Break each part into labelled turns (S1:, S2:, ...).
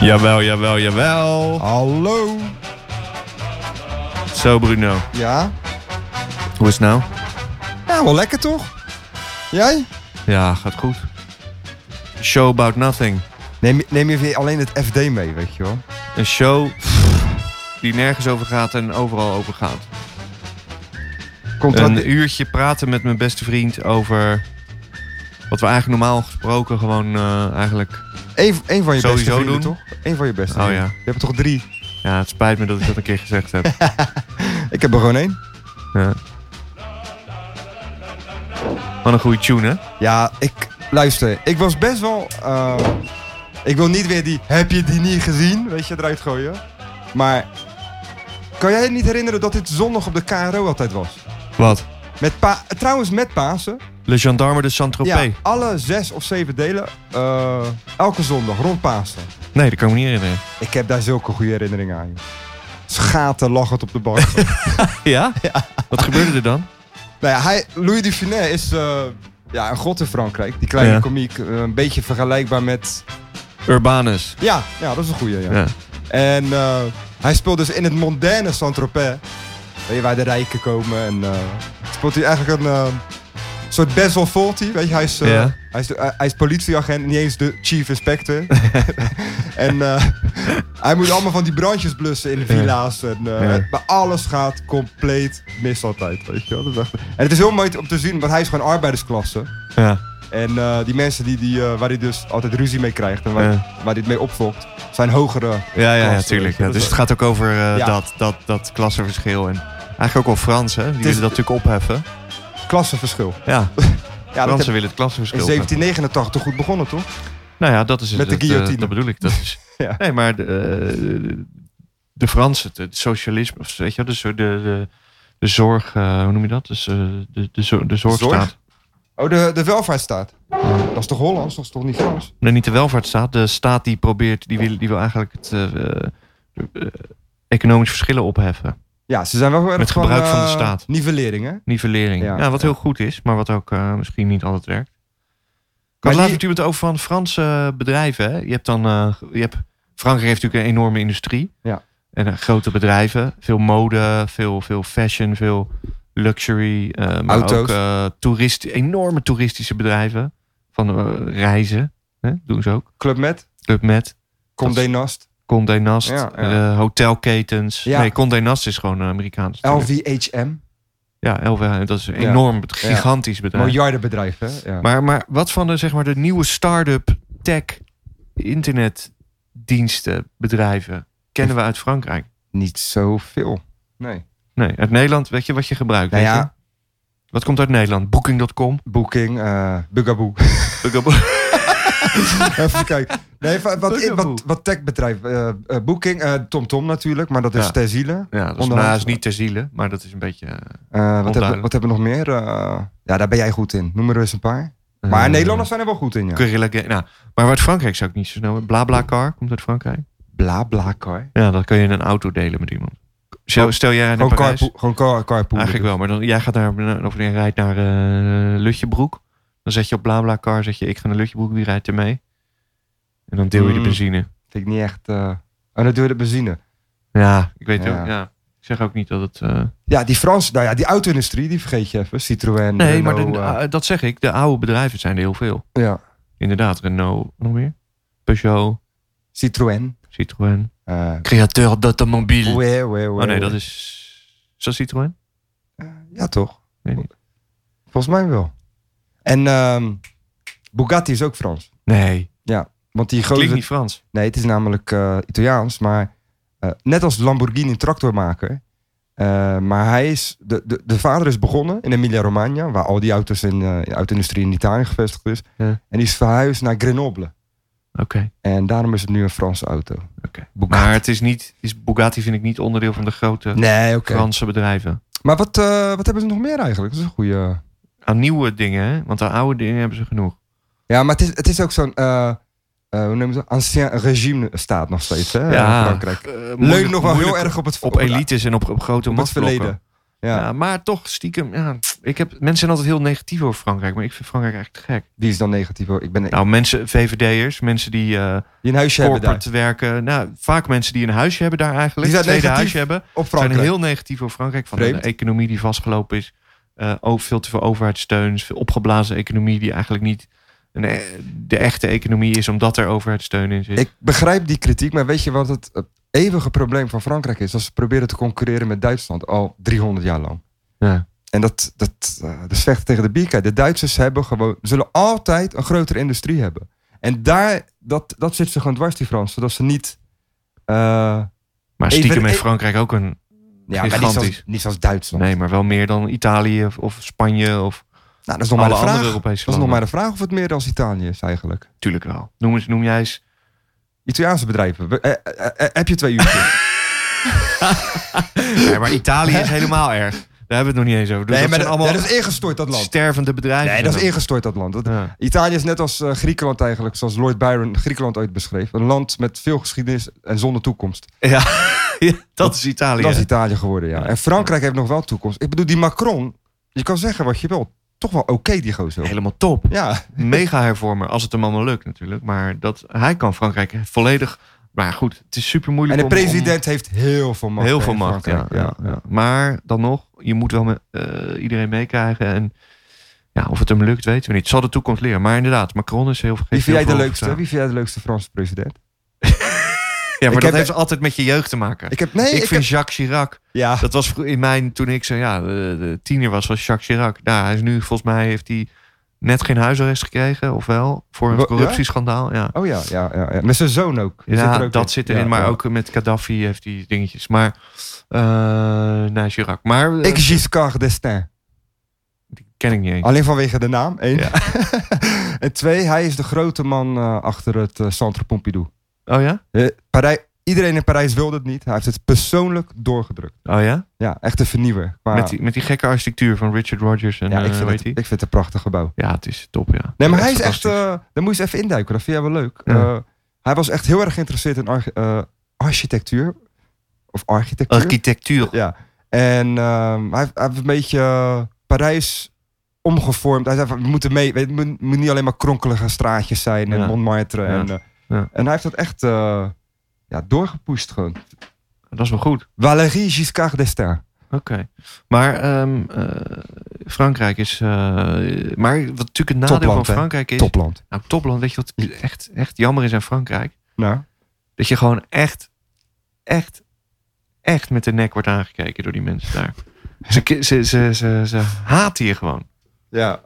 S1: Jawel, jawel, jawel.
S2: Hallo?
S1: Zo Bruno,
S2: Ja?
S1: hoe is het nou?
S2: Ja, wel lekker toch? Jij?
S1: Ja, gaat goed. Show about nothing.
S2: Neem, neem je weer alleen het FD mee, weet je wel?
S1: Een show die nergens over gaat en overal over gaat.
S2: Komt dat...
S1: Een uurtje praten met mijn beste vriend over wat we eigenlijk normaal gesproken gewoon eh, eigenlijk...
S2: Een, een van je beste
S1: Sowieso
S2: vrienden,
S1: doen.
S2: toch? Eén van je beste
S1: Oh,
S2: vrienden.
S1: ja.
S2: Je hebt er toch drie?
S1: Ja, het spijt me dat ik dat een keer gezegd heb.
S2: Ik heb er gewoon één.
S1: Ja. Wat een goede tune, hè?
S2: Ja, ik... Luister, ik was best wel... eh, ik wil niet weer die... Heb je die niet gezien? Weet je, eruit gooien. Maar... Kan jij je niet herinneren dat dit zondag op de KRO altijd was?
S1: Wat?
S2: Met pa Trouwens, met Pasen.
S1: Le Gendarme de Saint-Tropez.
S2: Ja, alle zes of zeven delen. eh, elke zondag, rond Pasen.
S1: Nee, dat kan ik me niet herinneren.
S2: Ik heb daar zulke goede herinneringen aan. joh. Schaten lachend op de bank.
S1: Ja? Wat gebeurde er dan?
S2: nou ja, hij, Louis Dufinet is eh, ja, een god in Frankrijk. Die kleine
S1: Ja.
S2: komiek. eh, een beetje vergelijkbaar met...
S1: Urbanus.
S2: Ja, ja dat is een goede. Ja.
S1: Ja.
S2: En eh, hij speelt dus in het mondaine Saint-Tropez. Weet je, waar de rijken komen. En eh, speelt hij eigenlijk een eh, soort Basil Fawlty. Weet je, hij is, eh,
S1: Ja.
S2: hij, is de- hij- hij is politieagent, niet eens de chief inspector. en eh, hij moet allemaal van die brandjes blussen in de villa's. En, eh,
S1: Ja.
S2: Maar alles gaat compleet mis altijd, weet je wel. Dat is echt- En het is heel mooi om te zien, want hij is gewoon arbeidersklasse.
S1: Ja.
S2: En eh, die mensen die, die, eh, waar hij dus altijd ruzie mee krijgt en waar,
S1: Ja.
S2: waar hij het mee opfokt, zijn hogere
S1: Ja, ja, ja,
S2: Klasse,
S1: tuurlijk.
S2: weet je,
S1: Ja,
S2: dat
S1: dus
S2: is-
S1: het gaat ook over eh,
S2: Ja.
S1: dat, dat, dat klassenverschil. En eigenlijk ook wel Fransen, hè? die
S2: is-
S1: willen dat natuurlijk opheffen.
S2: klassenverschil.
S1: Ja,
S2: Ja, dat
S1: Fransen
S2: heb
S1: willen het klassenverschil
S2: in
S1: opheffen.
S2: 1789 goed begonnen, toch?
S1: Nou ja, dat is het.
S2: Met de
S1: dat, eh,
S2: guillotine.
S1: dat bedoel ik. Dat is,
S2: Ja.
S1: Nee, maar de, eh, de Fransen, het- het socialisme, of weet je, wel, de, zo- de, de, de zorg, eh, hoe noem je dat? Dus, eh, de, de, zo- de zorgstaat.
S2: Zorg? Oh, de, de welvaartsstaat. Dat is toch Hollands? Dat is toch niet Frans?
S1: Nee, niet de welvaartsstaat. De staat die probeert, die wil, die wil eigenlijk het eh, eh, eh, economisch verschillen opheffen.
S2: Ja, ze zijn wel heel erg
S1: Met gebruik van de
S2: eh,
S1: staat.
S2: Nivellering, hè?
S1: Nivellering. Ja,
S2: Ja,
S1: wat heel goed is, maar wat ook eh, misschien niet altijd werkt. Maar
S2: Maar
S1: laat
S2: die-
S1: natuurlijk het over van Franse bedrijven. Hè? Je hebt dan, eh, je hebt, Frankrijk heeft natuurlijk een enorme industrie.
S2: Ja.
S1: En eh, grote bedrijven. Veel mode, veel, veel fashion, veel luxury. eh, maar
S2: Auto's.
S1: ook eh, toerist, enorme toeristische bedrijven. Van eh, reizen. Hè? Doen ze ook.
S2: Club Met,
S1: Club Med.
S2: Condé Nast,
S1: Condé Nast,
S2: Ja, ja.
S1: eh, hotelketens.
S2: Ja.
S1: Nee, Condé Nast is gewoon een Amerikaans. natuurlijk.
S2: LVHM.
S1: Ja, LVH. Dat is een enorm, bet-
S2: Ja.
S1: gigantisch bedrijf.
S2: Miljardenbedrijf, hè? Ja.
S1: Maar, maar wat van de, zeg maar, de nieuwe start-up tech internetdiensten bedrijven kennen we uit Frankrijk?
S2: Niet zoveel. Nee.
S1: Nee, uit Nederland weet je wat je gebruikt.
S2: Nou
S1: weet
S2: ja.
S1: je? Wat komt uit Nederland? Booking.com.
S2: Booking, eh Bugaboo. Even kijken. Nee, va- wat,
S1: Bugaboo.
S2: wat, wat techbedrijf? eh, eh, booking, eh, TomTom natuurlijk, maar dat is
S1: Ja.
S2: ter ziele.
S1: ja, dat is,
S2: Onderhoud.
S1: nou, dat is niet ter ziele, maar dat is een beetje. eh,
S2: Eh, wat, hebben, we-
S1: Onduidelijk.
S2: wat hebben we nog meer? Eh, ja, daar ben jij goed in. Noem er eens een paar. Maar
S1: eh,
S2: Nederlanders zijn er wel goed in, ja.
S1: Guerrilla Ga- nou, maar uit Frankrijk zou ik niet zo snel. Blablacar komt uit Frankrijk.
S2: Bla bla car.
S1: Ja, dan kan je een auto delen met iemand. Stel, stel jij naar
S2: Oh. Gewoon,
S1: Parijs.
S2: carpool, gewoon car, carpoolen.
S1: Eigenlijk wel, maar dan, jij gaat naar, naar- of jij rijdt naar eh, Lutjebroek. Dan zet je op BlaBlaCar, zeg je ik ga naar Lutjebroek, wie rijdt er mee? En dan deel je de
S2: Mm.
S1: benzine.
S2: Vind ik niet echt... eh En dat duurde benzine.
S1: Ja, ik weet
S2: Ja.
S1: ook, ja. Ik zeg ook niet dat het... eh,
S2: Ja, die Frans, nou ja, die auto-industrie, die vergeet je even. Citroën,
S1: Nee, maar
S2: Renault,
S1: de-
S2: eh,
S1: ah, dat zeg ik. De oude bedrijven zijn er heel veel.
S2: ja.
S1: Inderdaad, Renault nog meer. Peugeot,
S2: Citroën.
S1: Citroën.
S2: eh
S1: Createur d'automobile.
S2: ouais, ouais,
S1: Oh nee, dat is... Is dat Citroën?
S2: Ja, toch?
S1: Weet niet.
S2: Volgens mij wel. En ehm, Bugatti is ook Frans.
S1: Nee,
S2: Want die
S1: klinkt
S2: grote...
S1: niet Frans.
S2: Nee, het is namelijk eh, Italiaans, maar eh, net als Lamborghini een tractormaker. Eh, maar hij is, de, de, de vader is begonnen in Emilia-Romagna, waar al die auto's in, eh, uit de industrie in Italië gevestigd is.
S1: Ja.
S2: En die is verhuisd naar Grenoble.
S1: Oké.
S2: En daarom is het nu een Franse auto.
S1: oké. Maar het is niet... Is Bugatti vind ik niet onderdeel van de grote
S2: Nee, oké.
S1: Franse bedrijven.
S2: Maar wat, eh, wat hebben ze nog meer eigenlijk? Dat is een goede.
S1: aan nieuwe dingen, hè? Want aan oude dingen hebben ze genoeg.
S2: Ja, maar het is, het is ook zo'n. eh, eh, hoe noemen ze dat? Ancien regime staat nog steeds, hè?
S1: Ja. Eh,
S2: in Frankrijk.
S1: Moeilijk-
S2: Leun nog wel heel
S1: moeilijk
S2: erg op het
S1: op elites en op, op grote
S2: op het
S1: machtsblokken.
S2: verleden. Ja.
S1: Ja. maar toch stiekem, ja, ik heb, mensen zijn altijd heel negatief over Frankrijk, maar ik vind Frankrijk eigenlijk te gek.
S2: Die is dan negatief hoor. Ik ben
S1: Nou, mensen, VVD'ers, mensen die eh,
S2: die een huisje hebben daar.
S1: corporate werken. Nou, vaak mensen die een huisje hebben daar eigenlijk.
S2: Die zijn
S1: een tweede
S2: negatief
S1: huisje hebben. Zijn
S2: Op Frankrijk.
S1: heel negatief over Frankrijk. Van een
S2: Vreemd.
S1: economie die vastgelopen is. eh, ook veel te veel overheidssteun. Veel opgeblazen economie die eigenlijk niet een e- de echte economie is. Omdat er overheidssteun in zit.
S2: Ik begrijp die kritiek, maar weet je wat het eh, eeuwige probleem van Frankrijk is? Dat ze proberen te concurreren met Duitsland al 300 jaar lang.
S1: Ja.
S2: En dat, dat, eh, dat is vechten tegen de bierkaart. De Duitsers hebben gewoon, zullen altijd een grotere industrie hebben. En daar, dat, dat zit ze gewoon dwars, die Fransen. Dat ze niet... eh,
S1: Maar stiekem
S2: Even-
S1: heeft Frankrijk ook een...
S2: ja, maar niet zoals,
S1: Gigantisch.
S2: niet zoals Duitsland.
S1: Nee, maar wel meer dan Italië of, of Spanje of
S2: Nou, dat is nog maar
S1: alle
S2: de
S1: andere
S2: vraag.
S1: Europese
S2: Dat is
S1: landen.
S2: nog maar de vraag of het meer dan Italië is eigenlijk.
S1: Tuurlijk wel. Noem, eens, noem jij eens...
S2: Italiaanse bedrijven. We- eh, eh, eh, heb je twee uur?
S1: Nee, maar Italië is helemaal erg. Daar hebben we het nog niet eens over. Dus
S2: nee,
S1: dat
S2: maar
S1: zijn
S2: dat,
S1: allemaal
S2: dat is ingestort, dat land.
S1: stervende bedrijven.
S2: Nee, dat is
S1: zijn
S2: ingestort, dat land. Dat-
S1: dat. Ja.
S2: Italië is net als eh, Griekenland eigenlijk, zoals Lloyd Byron Griekenland ooit beschreef. Een land met veel geschiedenis en zonder toekomst.
S1: Oh, Ja, dat is Italië.
S2: Dat is Italië geworden, ja. En Frankrijk heeft nog wel toekomst. Ik bedoel, die Macron, je kan zeggen wat je wil. Toch wel oké, die gozer.
S1: Helemaal top.
S2: Ja,
S1: Mega hervormer, als het hem allemaal lukt natuurlijk. Maar dat, hij kan Frankrijk volledig... Maar goed, het is super
S2: en
S1: moeilijk
S2: de president heeft heel veel macht.
S1: heel
S2: hè,
S1: veel
S2: in
S1: macht, ja,
S2: Frankrijk.
S1: ja, ja. Maar dan nog, je moet wel met, eh, iedereen meekrijgen. En ja, of het hem lukt, weten we niet. Zal de toekomst leren. Maar inderdaad, Macron is heel
S2: Wie
S1: vergeten.
S2: vind jij de leukste? Wie vind jij de leukste Franse president?
S1: Ja, maar
S2: Ik
S1: dat
S2: heb-
S1: heeft altijd met je jeugd te maken. Ik,
S2: Ik heb, nee, ik,
S1: vind
S2: heb-
S1: Jacques Chirac.
S2: ja,
S1: Dat was vro- in mijn, toen ik zei, ja, de, de tiener was, was Jacques Chirac. Nou, hij is nu, volgens mij heeft hij net geen huisarrest gekregen, of wel? Voor
S2: Wa-
S1: een
S2: ja?
S1: corruptieschandaal, ja.
S2: oh ja, ja, ja, ja. Met zijn zoon ook. Die
S1: Ja,
S2: zit er ook
S1: dat
S2: in.
S1: zit erin.
S2: Ja,
S1: maar
S2: ja.
S1: ook met Gaddafi heeft hij dingetjes. Maar, eh nee, Chirac. Maar eh,
S2: Ik Giscard d'Estaing.
S1: die ken ik niet eens.
S2: Alleen vanwege de naam, één.
S1: Ja.
S2: en twee, hij is de grote man eh, achter het eh, Centre Pompidou.
S1: Oh ja?
S2: Eh, Parij- iedereen in Parijs wilde het niet. Hij heeft het persoonlijk doorgedrukt.
S1: Oh ja?
S2: Ja, echt een vernieuwer. Maar,
S1: Met, die, met die gekke architectuur van Richard Rogers en
S2: ja, ik,
S1: eh,
S2: vind
S1: hoe
S2: het,
S1: heet die?
S2: ik vind het een prachtig gebouw.
S1: Ja, het is top, ja.
S2: Nee, maar
S1: Ja,
S2: hij is echt...
S1: fantastisch.
S2: eh, daar moet je eens even induiken. Dat vind jij wel leuk.
S1: Ja.
S2: Eh, hij was echt heel erg geïnteresseerd in arch- eh, architectuur. Of architectuur.
S1: Architectuur.
S2: eh, ja. En ehm, hij, heeft- hij heeft een beetje eh, Parijs omgevormd. Hij zei van, we moeten mee. Het moet, moet niet alleen maar kronkelige straatjes zijn. En
S1: Ja.
S2: Montmartre.
S1: Ja.
S2: En, eh,
S1: Ja.
S2: en hij heeft dat echt eh, ja, doorgepusht gewoon.
S1: Dat is wel goed.
S2: Valérie Giscard d'Estaing.
S1: Oké. Maar ehm, eh, Frankrijk is. eh, maar wat natuurlijk het nadeel
S2: Topland,
S1: van
S2: hè?
S1: Frankrijk is.
S2: Topland.
S1: Nou, topland. Weet je wat echt, echt jammer is aan Frankrijk?
S2: Nou,
S1: Dat je gewoon echt, echt, echt met de nek wordt aangekeken door die mensen daar. Ze, ki- ze, ze, ze, ze haten je gewoon.
S2: ja.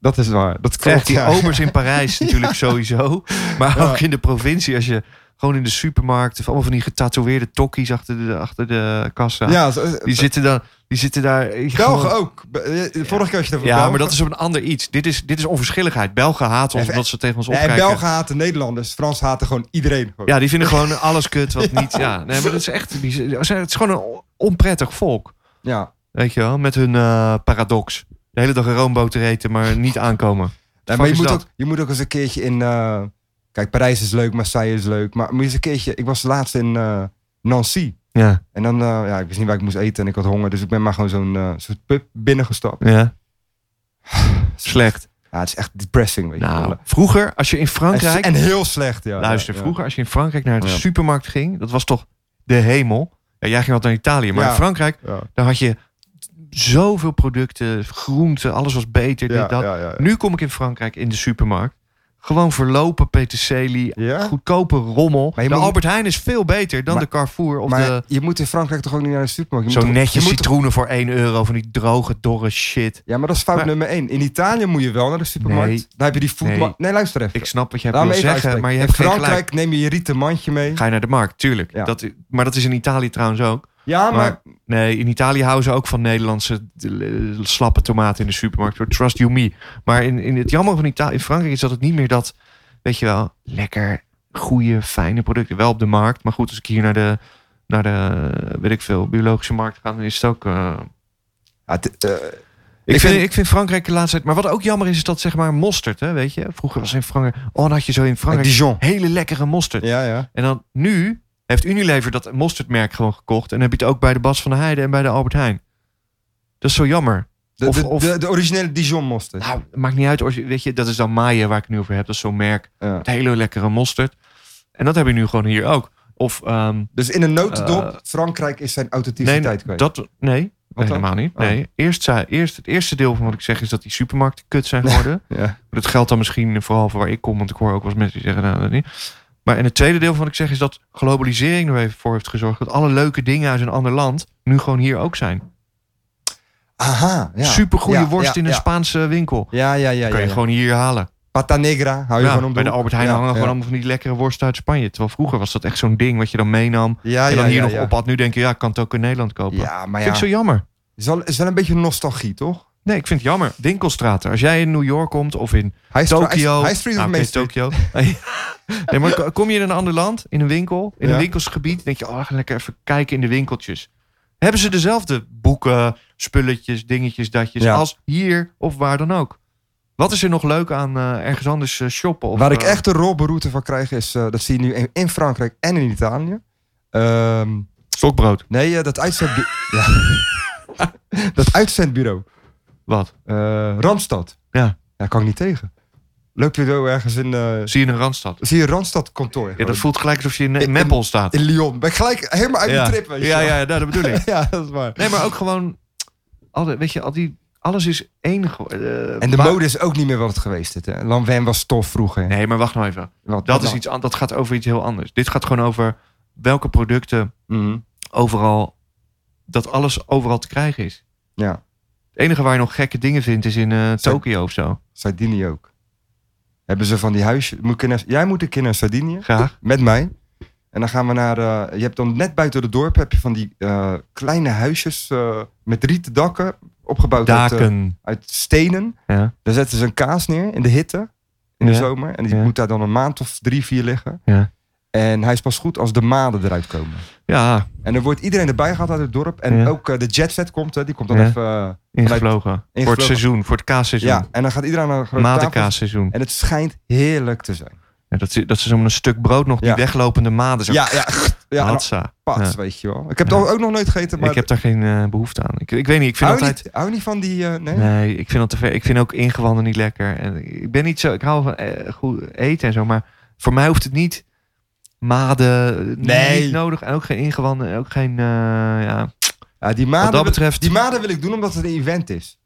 S2: Dat is waar. Dat klopt.
S1: Echt, die
S2: ja.
S1: obers in Parijs natuurlijk sowieso. Maar
S2: Ja.
S1: ook in de provincie. Als je gewoon in de supermarkt. Of allemaal van die getatoeëerde tokkies achter de, achter de kassa.
S2: Ja, zo- eh,
S1: Die, zitten dan, die zitten daar. gewoon-
S2: Belgen ook. Be- eh, Vorige keer had je het over
S1: Ja,
S2: Belgen.
S1: maar dat is op een ander iets. Dit is, dit is onverschilligheid. Belgen haten ons
S2: Ja,
S1: omdat ze tegen ons
S2: Ja, en
S1: opkijken.
S2: Belgen haten Nederlanders. Frans haten gewoon iedereen. Gewoon.
S1: Ja, die vinden gewoon alles kut wat niet... Ja, nee, maar dat is echt... bizar. Ze- Het is gewoon een on- onprettig volk.
S2: Ja.
S1: Weet je wel? Met hun eh, paradox. De hele dag een roomboter eten, maar niet aankomen.
S2: Ja,
S1: fuck
S2: maar je
S1: is
S2: moet,
S1: dat?
S2: ook, je moet ook eens een keertje in... eh, kijk, Parijs is leuk, Marseille is leuk. Maar moet je eens een keertje... Ik was laatst in eh, Nancy.
S1: Ja,
S2: En dan... eh, ja, ik wist niet waar ik moest eten en ik had honger. Dus ik ben maar gewoon zo'n eh, soort pub binnengestapt.
S1: ja. Slecht.
S2: Ja, het is echt depressing, weet je wel.
S1: Nou, vroeger als je in
S2: En,
S1: Frankrijk...
S2: en heel slecht, ja.
S1: luister,
S2: ja, ja.
S1: vroeger als je in Frankrijk naar de
S2: Ja.
S1: supermarkt ging... Dat was toch de hemel? Ja, jij ging altijd naar Italië, maar
S2: Ja.
S1: in Frankrijk...
S2: Ja,
S1: Dan had je zoveel producten, groenten, alles was beter,
S2: ja,
S1: dit, dat.
S2: ja, ja.
S1: Nu kom ik in Frankrijk in de supermarkt. Gewoon verlopen peterselie,
S2: Ja?
S1: goedkope rommel.
S2: Maar je
S1: de
S2: moet-
S1: Albert Heijn is veel beter dan
S2: Maar-
S1: de Carrefour of
S2: maar
S1: de...
S2: je moet in Frankrijk toch ook niet naar de supermarkt? Je
S1: Zo
S2: moet toch-
S1: netjes
S2: je moet toch-
S1: citroenen voor 1 euro van die droge, dorre shit.
S2: Ja, maar dat is fout
S1: Maar-
S2: nummer één. In Italië moet je wel naar de supermarkt.
S1: Nee.
S2: Daar heb je die voetmarkt.
S1: Nee.
S2: Nee. luister even.
S1: Ik snap wat jij
S2: Laat
S1: wil
S2: me even
S1: zeggen,
S2: uitspreken.
S1: maar je
S2: In
S1: hebt geen gelijk.
S2: Frankrijk neem je je rieten mandje mee.
S1: Ga je naar de markt, tuurlijk.
S2: Ja.
S1: Dat, maar dat is in Italië trouwens ook.
S2: Ja, maar,
S1: Nee, in Italië houden ze ook van Nederlandse eh, slappe tomaten in de supermarkt. Door trust you me. Maar in, in het jammer van Italië, in Frankrijk is dat het niet meer dat, weet je wel, lekker goede, fijne producten. Wel op de markt. Maar goed, als ik hier naar de, naar de weet ik veel, biologische markt ga, dan is het ook... eh,
S2: Ja, het, eh,
S1: ik, vind,
S2: Ik vind-
S1: ik vind Frankrijk de laatste tijd... Maar wat ook jammer is, is dat zeg maar mosterd, hè, weet je. Vroeger was in Frankrijk... Oh, dan had je zo in Frankrijk
S2: Dijon.
S1: hele lekkere mosterd.
S2: Ja, ja.
S1: En dan nu heeft Unilever dat mosterdmerk gewoon gekocht. En heb je het ook bij de Bas van der Heijden en bij de Albert Heijn. Dat is zo jammer.
S2: De,
S1: Of-
S2: de,
S1: of-
S2: de, de originele Dijon mosterd.
S1: Nou, maakt niet uit. orgi- Weet je, dat is dan Maaien waar ik het nu over heb. Dat is zo'n merk.
S2: Ja.
S1: Met hele lekkere mosterd. En dat heb je nu gewoon hier ook. Of, ehm,
S2: Dus in een notendop,
S1: Eh,
S2: Frankrijk is zijn
S1: nee,
S2: authenticiteit kwijt.
S1: dat, nee,
S2: Wat dan?
S1: helemaal niet.
S2: Oh.
S1: Nee. Eerst, zei- eerst, het eerste deel van wat ik zeg is dat die supermarkten kut zijn geworden.
S2: Ja.
S1: Dat geldt dan misschien vooral voor waar ik kom, want ik hoor ook wel eens mensen die zeggen, nou, dat niet. Maar en het tweede deel van wat ik zeg is dat globalisering er even voor heeft gezorgd dat alle leuke dingen uit een ander land nu gewoon hier ook zijn.
S2: Aha, ja.
S1: Supergoeie
S2: Ja,
S1: worst
S2: ja,
S1: in een
S2: ja.
S1: Spaanse winkel.
S2: Ja, ja, ja. ja,
S1: kan je
S2: ja.
S1: gewoon hier halen.
S2: Pata negra, hou je
S1: Ja,
S2: gewoon om
S1: bij de Albert Heijn
S2: ja,
S1: hangen
S2: ja.
S1: gewoon allemaal van die lekkere worsten uit Spanje. Terwijl vroeger was dat echt zo'n ding wat je dan meenam.
S2: Ja,
S1: en
S2: ja,
S1: dan hier
S2: ja,
S1: nog
S2: ja.
S1: op had. Nu denk je, ja, ik kan het ook in Nederland kopen.
S2: Ja, maar ja.
S1: Vind ik zo jammer.
S2: Is wel, is wel een beetje nostalgie, toch?
S1: Nee, ik vind het jammer. Winkelstraten. Als jij in New York komt of in
S2: Hij is
S1: Tokio.
S2: Hij is Street of
S1: Ah, oké,
S2: Main Street.
S1: Tokio. nee, maar ko- kom je in een ander land, in een winkel, in
S2: Ja.
S1: een winkelsgebied, denk je, oh, ga lekker even kijken in de winkeltjes. Hebben ze dezelfde boeken, spulletjes, dingetjes, datjes,
S2: Ja.
S1: als hier of waar dan ook? Wat is er nog leuk aan eh, ergens anders eh, shoppen? Of,
S2: Waar ik
S1: eh,
S2: echt de rolberoute van krijg is, eh, dat zie je nu in, in Frankrijk en in Italië. Ehm,
S1: Stokbrood.
S2: nee, eh, dat, uitzendbu- ja. dat uitzendbureau.
S1: Wat?
S2: eh, Randstad.
S1: Ja.
S2: Daar kan ik niet tegen. Loop je door ergens in, eh,
S1: Zie je in een Randstad?
S2: zie je Randstad kantoor.
S1: Ja, dat voelt gelijk alsof je in, in
S2: In-
S1: Meppel staat.
S2: In Lyon. Ben ik gelijk helemaal uit
S1: ja.
S2: de trip, weet je
S1: ja,
S2: wel.
S1: ja, ja, dat bedoel ik.
S2: ja, dat is waar.
S1: Nee, maar ook gewoon, al die- weet je, al die, alles is één. ge- eh,
S2: En de
S1: waar-
S2: mode is ook niet meer wat het geweest is. hè. Lanvin was tof vroeger.
S1: Nee, maar wacht nou even. Dat,
S2: Wat- wat
S1: is
S2: dan?
S1: iets, an- dat gaat over iets heel anders. Dit gaat gewoon over welke producten
S2: Mhm.
S1: overal, dat alles overal te krijgen is.
S2: Ja,
S1: Het enige waar je nog gekke dingen vindt is in eh, Tokio of zo.
S2: Sardinië ook. Hebben ze van die huisjes. Moet ik naar- jij moet een keer naar Sardinië.
S1: Graag.
S2: Met mij. En dan gaan we naar. eh, je hebt dan net buiten het dorp heb je van die eh, kleine huisjes eh, met rieten dakken. Opgebouwd uit, eh,
S1: Daken.
S2: uit stenen.
S1: Ja.
S2: Daar zetten ze een kaas neer in de hitte. In de
S1: Ja.
S2: zomer. En die
S1: Ja.
S2: moet daar dan een maand of drie, vier liggen.
S1: Ja.
S2: En hij is pas goed als de maden eruit komen.
S1: ja,
S2: En er wordt iedereen erbij gehaald uit het dorp. En
S1: Ja.
S2: ook eh, de jetset komt. Hè, die komt dan
S1: Ja.
S2: even. eh,
S1: ingevlogen. Voor het
S2: Ingevlogen.
S1: seizoen, voor het kaasseizoen.
S2: ja, en dan gaat iedereen naar een grote tafel.
S1: Madenkaasseizoen.
S2: En het schijnt heerlijk te zijn.
S1: Ja, dat, ze- dat ze zo'n stuk brood nog, die
S2: Ja.
S1: weglopende maden. Zo,
S2: Ja, ja. ja en dan
S1: hatsa.
S2: pats,
S1: Ja.
S2: weet je wel. Ik heb
S1: Ja.
S2: het ook nog nooit gegeten, maar...
S1: Ik heb daar geen eh, behoefte aan. Ik, ik weet niet, ik vind
S2: hou,
S1: altijd...
S2: niet, hou niet van die... eh, nee?
S1: Nee, ik vind dat te ver. Ik vind ook ingewanden niet lekker. En ik ben niet zo. Ik hou van eh, goed eten en zo, maar voor mij hoeft het niet maden eh,
S2: Nee.
S1: niet nodig en ook geen ingewanden en ook geen eh, ja.
S2: Ja, die
S1: Wat dat
S2: maden, wil-
S1: betreft.
S2: die maden wil ik doen omdat het een event is.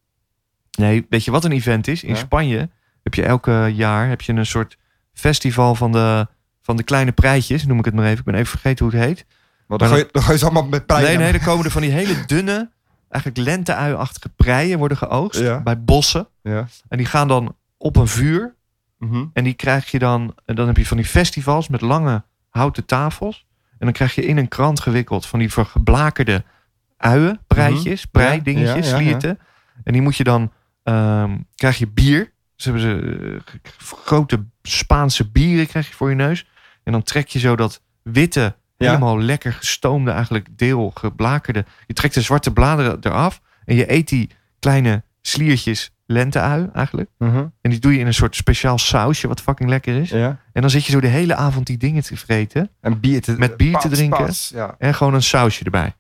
S1: Nee, weet je wat een event is? In
S2: Ja.
S1: Spanje heb je elke jaar heb je een soort festival van de van de kleine prijtjes, noem ik het maar even. Ik ben even vergeten hoe het heet.
S2: Want dan
S1: Maar
S2: gooi, je- dan gooi je ze allemaal met prijzen.
S1: Nee, nee, er komen er van die hele dunne, eigenlijk lenteuiachtige preien worden geoogst
S2: Ja.
S1: bij bossen
S2: Ja.
S1: en die gaan dan op een vuur
S2: Mhm.
S1: En die krijg je dan, en dan heb je van die festivals met lange houten tafels. En dan krijg je in een krant gewikkeld van die verblakerde uien, preitjes, preidingetjes,
S2: Mhm. Ja, ja, ja.
S1: slieten. En die moet je dan, ehm, krijg je bier. Dus hebben ze eh, g- g- grote Spaanse bieren krijg je voor je neus. En dan trek je zo dat witte,
S2: Ja.
S1: helemaal lekker gestoomde eigenlijk deel, geblakerde. Je trekt de zwarte bladeren eraf en je eet die kleine sliertjes lenteui eigenlijk.
S2: Mhm.
S1: En die doe je in een soort speciaal sausje, wat fucking lekker is.
S2: ja.
S1: En dan zit je zo de hele avond die dingen te vreten.
S2: En bier te,
S1: Met bier te
S2: pats,
S1: drinken?
S2: pats, ja.
S1: En gewoon een sausje erbij.